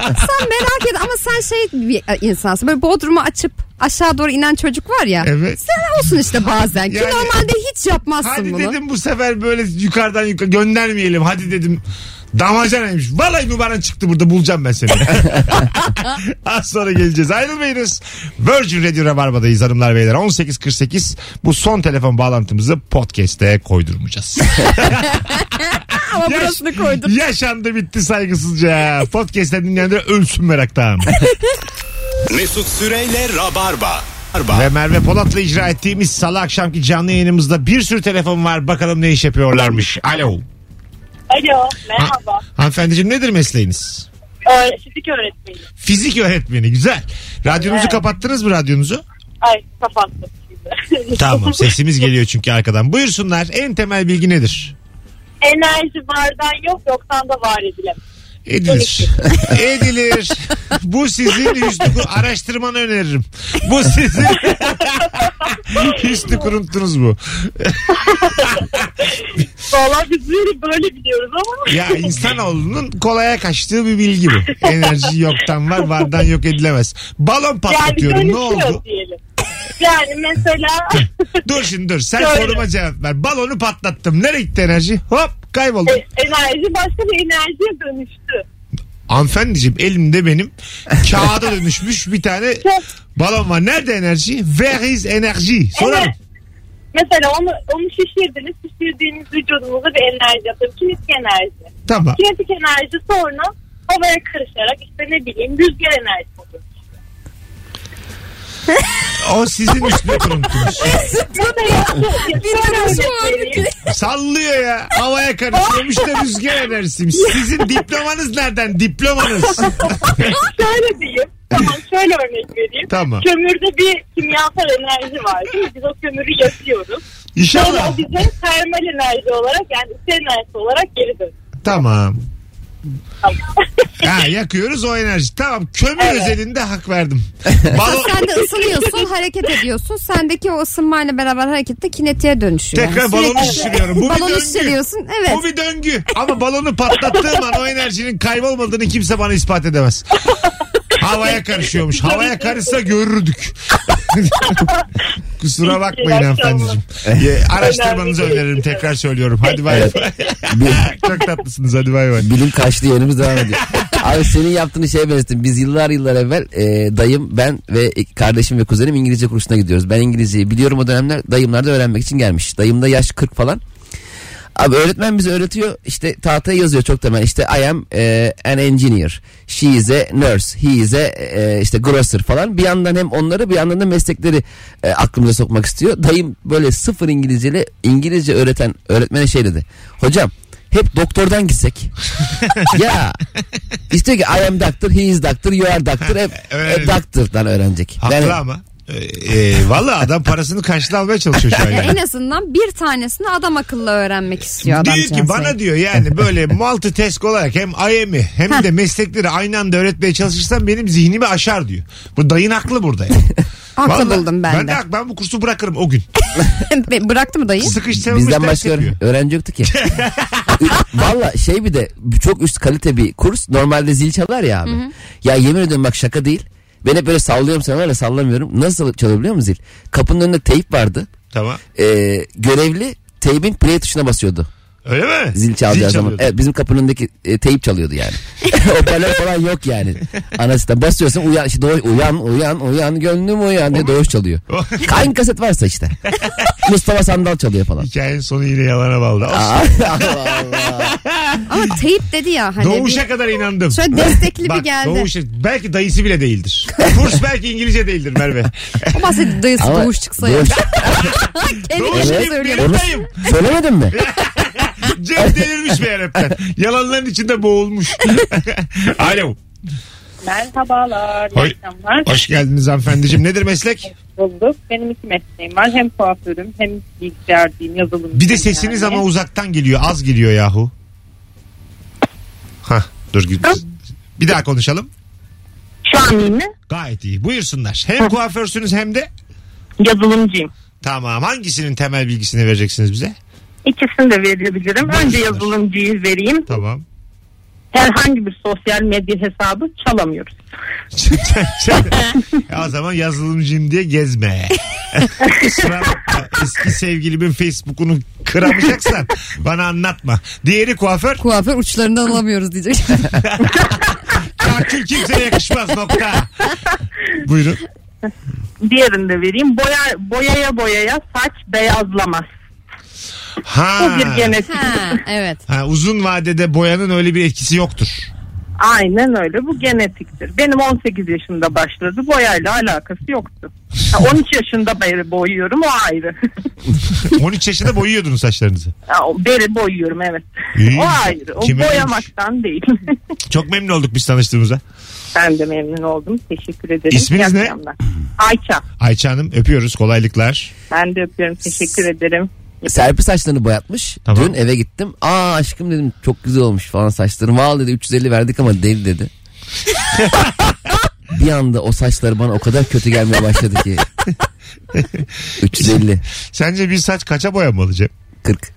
D: sen merak et ama sen şey bir insansın. Böyle bodrumu açıp aşağı doğru inen çocuk var ya.
B: evet.
D: Sen olsun işte bazen. Ki
B: Yani-
D: normalde hiç yapmazsın
B: Hadi
D: bunu.
B: dedim bu sefer böyle yukarıdan yukarı göndermeyelim. Hadi dedim damacanaymış. Vallahi numara çıktı burada bulacağım ben seni. Az sonra geleceğiz. Ayrılmayınız. Virgin Radio Rabarba'dayız hanımlar beyler. 18.48 bu son telefon bağlantımızı podcast'e koydurmayacağız.
D: Ama
B: Yaş-
D: burasını koydum.
B: Yaşandı bitti saygısızca. Podcast'ten dinleyenler ölsün meraktan.
A: Mesut Süreyle Rabarba. Rabarba.
B: Ve Merve Polat'la icra ettiğimiz salı akşamki canlı yayınımızda bir sürü telefon var. Bakalım ne iş yapıyorlarmış. Alo.
J: Alo,
B: merhaba.
J: merhaba. Ee,
B: Hanımefendiciğim nedir mesleğiniz?
J: fizik öğretmeniyim.
B: Fizik öğretmeni güzel. Radyonuzu
J: Evet.
B: kapattınız mı radyonuzu?
J: Ay, kapattım.
B: Tamam sesimiz geliyor çünkü arkadan. Buyursunlar en temel bilgi nedir?
J: Enerji bardan yok, yoktan da var edilemez.
B: Edilir. Edilir. Bu sizin Hüsnü Kur- araştırmanı öneririm. Bu sizin Hüsnü kuruntunuz bu.
J: Vallahi biz böyle, böyle biliyoruz ama.
B: Ya insanoğlunun kolaya kaçtığı bir bilgi bu. Enerji yoktan var vardan yok edilemez. Balon
J: Yani
B: patlatıyorum
J: dönüşüyor
B: ne oldu?
J: diyelim. Yani mesela
B: Dur şimdi dur. Sen
J: Şöyle.
B: soruma cevap ver. Balonu patlattım. Nereye gitti enerji? Hop kayboldu.
J: e- enerji başka bir enerjiye dönüştü.
B: Hanımefendiciğim elimde benim kağıda dönüşmüş bir tane balon var. Nerede enerji? Where is enerji? Soralım.
J: Evet. Mesela onu, onu şişirdiniz. Şişirdiğiniz vücudunuza bir enerji atın. Kinetik enerji.
B: Tamam.
J: Kinetik enerji sonra havaya karışarak işte ne bileyim rüzgar enerjisi olur.
B: O sizin üstüne kuruntunuz.
J: Bu da yaptı.
D: Bir tanesi vardı.
B: Sallıyor ya. Havaya karıştırmış da rüzgar enerjisiymiş. Sizin diplomanız nereden? Diplomanız.
J: şöyle diyeyim. Tamam şöyle örnek vereyim.
B: Tamam.
J: Kömürde bir kimyasal enerji var değil mi? Biz o kömürü yakıyoruz. Sonra
B: İnşallah.
J: o bize termal enerji olarak yani ısı enerjisi olarak geri dönüyor.
B: Tamam. Ha, yakıyoruz o enerji. Tamam kömür özelinde hak verdim. Balon...
D: Sen de ısınıyorsun, hareket ediyorsun. Sendeki o ısınmayla beraber harekette kinetiğe dönüşüyor.
B: Tekrar
D: Yani
B: balonu
D: sürekli-
B: şişiriyorum. Bu bir
D: balonu
B: döngü.
D: şişiriyorsun. Evet.
B: Bu bir döngü. Ama balonu patlattığım an o enerjinin kaybolmadığını kimse bana ispat edemez. Havaya karışıyormuş. Havaya karışsa görürdük. Kusura bakmayın hanımefendiciğim. Ye- Araştırmanızı öneririm. Tekrar söylüyorum. Hadi bay bay. Çok tatlısınız. Hadi bay bay.
C: Bilim kaçtı yönümüz devam ediyor. Abi senin yaptığın şeye benzettim. Biz yıllar yıllar evvel e, dayım, ben ve kardeşim ve kuzenim İngilizce kursuna gidiyoruz. Ben İngilizceyi biliyorum o dönemler. Dayımlar da öğrenmek için gelmiş. Dayım da yaş 40 falan. Abi öğretmen bize öğretiyor. İşte tahtaya yazıyor çok temel. İşte I am e, an engineer. She is a nurse. He is a e, işte grocer falan. Bir yandan hem onları bir yandan da meslekleri e, aklımıza sokmak istiyor. Dayım böyle sıfır İngilizceli İngilizce öğreten öğretmene şey dedi. Hocam hep doktordan gitsek. ya işte ki I am doctor, he is doctor, you are doctor. Hep,
B: öyle.
C: hep doctor'dan öğrenecek.
B: Haklı
C: Yani-
B: ama. Ee, e, Valla adam parasını karşılığında almaya çalışıyor şu an.
D: Yani
B: yani.
D: en azından bir tanesini adam akıllı öğrenmek istiyor adam.
B: Diyor ki bana diyor yani böyle multitask olarak hem IM'i hem de meslekleri aynı anda öğretmeye çalışırsam benim zihnimi aşar diyor. Bu dayın haklı burada yani.
D: Haklı
B: Vallahi
D: buldum ben de.
B: hak- ben bu kursu bırakırım o gün.
D: Bıraktı mı dayı?
B: Sıkıştırılmış
C: Bizden
B: ders
C: başka
B: yapıyor.
C: öğren- öğrenci yoktu ki. Valla şey bir de çok üst kalite bir kurs. Normalde zil çalar ya abi. Ya yemin ediyorum bak şaka değil. Ben hep böyle sallıyorum sana öyle sallamıyorum. Nasıl çalıyor biliyor musun zil? Kapının önünde teyip vardı.
B: Tamam.
C: Ee, görevli teybin play tuşuna basıyordu.
B: Öyle mi?
C: Zil çalacağı zaman.
B: çalıyordu.
C: Evet bizim kapının önündeki e, teyip çalıyordu yani. Hoparlör falan yok yani. Anasından basıyorsun uyan, işte, doğuş- uyan uyan uyan gönlüm uyan diye doğuş çalıyor. Kayn kaset varsa işte. Mustafa Sandal çalıyor falan.
B: Hikayenin sonu yine yalana bağlı. Olsun.
C: Aa, Allah Allah.
D: Ama teyip dedi ya hani.
B: Doğuş'a
D: bir-
B: kadar inandım.
D: Şöyle destekli bir
B: Bak,
D: geldi.
B: Doğuş'a, belki dayısı bile değildir. Kurs belki İngilizce değildir Merve.
D: O bahsetti dayısı
C: Ama
D: doğuş çıksa ya.
C: Doğuş-
D: Kendi
B: Doğuş
D: yaşına
B: kim?
D: söylüyor.
B: Benim
C: Onu
B: dayım.
C: söylemedin mi?
B: Cem delirmiş meğer hepten. Yalanların içinde boğulmuş. Alo.
J: Merhabalar. iyi
B: Hoş-
J: akşamlar.
B: Hoş geldiniz hanımefendiciğim. Nedir meslek?
J: bulduk. Benim iki mesleğim var. Hem kuaförüm hem bilgisayarcıyım, yazılımcıyım.
B: Bir de sesiniz
J: yani.
B: ama uzaktan geliyor. Az geliyor yahu. Hah dur. gü- Bir daha konuşalım.
J: Şu an iyi mi?
B: Gayet iyi. Buyursunlar. Hem kuaförsünüz hem de
J: Yazılımcıyım.
B: tamam. Hangisinin temel bilgisini vereceksiniz bize?
J: İkisini de verebilirim. Önce
B: Buyursunlar.
J: yazılımcıyı vereyim.
B: Tamam.
J: Herhangi bir sosyal medya hesabı çalamıyoruz.
B: Ya o zaman yazılımcıyım diye gezme. Kusura bakma. Eski sevgilimin Facebook'unu kıramayacaksan bana anlatma. Diğeri kuaför.
D: Kuaför uçlarından alamıyoruz diyecek.
B: Kartül kimseye yakışmaz nokta. Buyurun.
J: Diğerini de vereyim. Boya, boyaya boyaya saç beyazlamaz. Bu
B: Ha.
J: bir genetik.
D: ha, evet.
B: ha. Uzun vadede boyanın öyle bir etkisi yoktur.
J: Aynen öyle. Bu genetiktir. Benim 18 yaşında başladı. Boyayla alakası yoktu. Ha, 13 yaşında beri boyuyorum. O ayrı.
B: 13 yaşında boyuyordunuz saçlarınızı.
J: Ha, o beri boyuyorum evet.
B: İyi.
J: O ayrı. O
B: Kime
J: boyamaktan değil.
B: Çok memnun olduk biz tanıştığımıza.
J: ben de memnun oldum. Teşekkür ederim.
B: İsminiz
J: İyi
B: ne?
J: akşamlar. Ayça.
B: Ayça Hanım öpüyoruz kolaylıklar.
J: Ben de öpüyorum. Teşekkür ederim.
C: Serpil saçlarını boyatmış.
B: Tamam.
C: Dün eve gittim. Aa aşkım dedim çok güzel olmuş falan saçlarım. Al dedi 350 verdik ama deli dedi. bir anda o saçlar bana o kadar kötü gelmeye başladı ki. 350
B: Sence bir saç kaça boyanmalı Cem?
C: 40.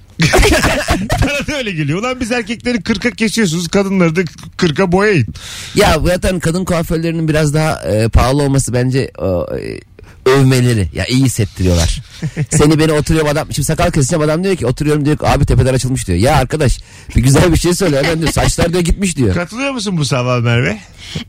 B: Bana da öyle geliyor. Ulan biz erkekleri 40'a kesiyorsunuz kadınları da 40'a boyayın.
C: Ya zaten kadın kuaförlerinin biraz daha e, pahalı olması bence e, e, övmeleri. Ya iyi hissettiriyorlar. Seni beni oturuyorum adam. Şimdi sakal keseceğim adam diyor ki oturuyorum diyor ki abi tepeler açılmış diyor. Ya arkadaş bir güzel bir şey söyle. Hemen diyor saçlar diyor gitmiş diyor.
B: Katılıyor musun bu sabah Merve?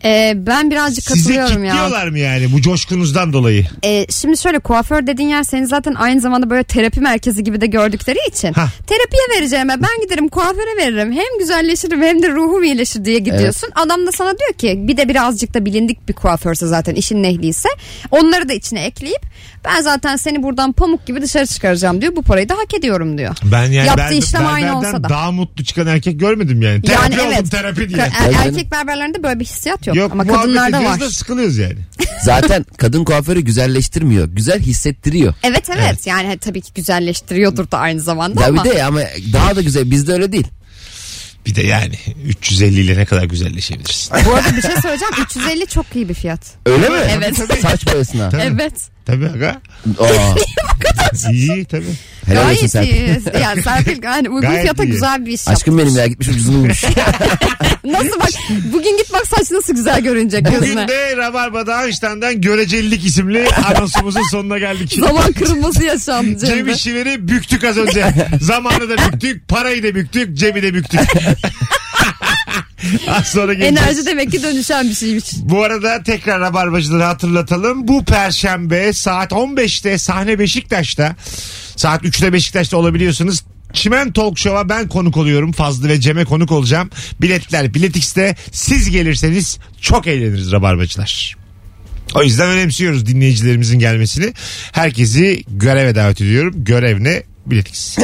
D: Ee, ben birazcık
B: Size
D: katılıyorum ya.
B: kitliyorlar mı yani bu coşkunuzdan dolayı?
D: Ee, şimdi şöyle kuaför dediğin yer seni zaten aynı zamanda böyle terapi merkezi gibi de gördükleri için.
B: Hah.
D: Terapiye vereceğime ben giderim kuaföre veririm. Hem güzelleşirim hem de ruhum iyileşir diye gidiyorsun. Adam da sana diyor ki bir de birazcık da bilindik bir kuaförse zaten işin nehliyse. Onları da içine ekleyip ben zaten seni buradan pamuk gibi dışarı çıkaracağım diyor. Bu parayı da hak ediyorum diyor.
B: Ben yani
D: Yaptığı
B: ben,
D: işlem aynı
B: berberden
D: olsa da.
B: daha mutlu çıkan erkek görmedim yani. Terapi
D: yani
B: oldum
D: evet.
B: terapi diye.
D: Ka- er-
C: Tabii canım.
D: erkek berberlerinde böyle bir hissiyat yok,
B: Yok
D: ama
B: muhabbet
D: kadınlarda var.
B: ediyoruz da sıkılıyoruz yani.
C: Zaten kadın kuaförü güzelleştirmiyor. Güzel hissettiriyor.
D: Evet, evet yani tabii ki güzelleştiriyordur da aynı zamanda
C: Ya
D: ama.
C: bir de ama daha da güzel. Bizde öyle değil.
B: Bir de yani 350 ile ne kadar güzelleşebilirsin.
D: Bu arada bir şey söyleyeceğim 350 çok iyi bir fiyat.
C: Öyle mi?
D: Evet.
C: Saç boyasına.
B: Tabii.
D: Evet.
B: Tabii aga.
C: Aa,
B: İyi tabii.
C: helal olsun
D: Gayet
C: sen.
D: iyi. Yani Serpil yani uygun
B: Gayet
D: fiyata
B: iyi.
D: güzel bir iş yaptı.
C: Aşkım benim ya gitmiş ucuzunu bulmuş.
D: Nasıl bak bugün git bak saç nasıl güzel görünecek gözüne.
B: Bugün de Rabarba'da Einstein'dan görecelilik isimli anonsumuzun sonuna geldik.
D: Zaman kırılması yaşandı
B: Cem
D: Cem'de.
B: işçileri büktük az önce. Zamanı da büktük, parayı da büktük, cebi de büktük. az sonra geleceğiz.
D: Enerji demek ki dönüşen bir şeymiş.
B: Bu arada tekrar Rabarbacıları hatırlatalım. Bu perşembe saat 15'te sahne Beşiktaş'ta. Saat 3'te Beşiktaş'ta olabiliyorsunuz. Çimen Talk Show'a ben konuk oluyorum. Fazlı ve Cem'e konuk olacağım. Biletler Biletix'te. Siz gelirseniz çok eğleniriz Rabarbacılar. O yüzden önemsiyoruz dinleyicilerimizin gelmesini. Herkesi göreve davet ediyorum. Görev ne? Biletix.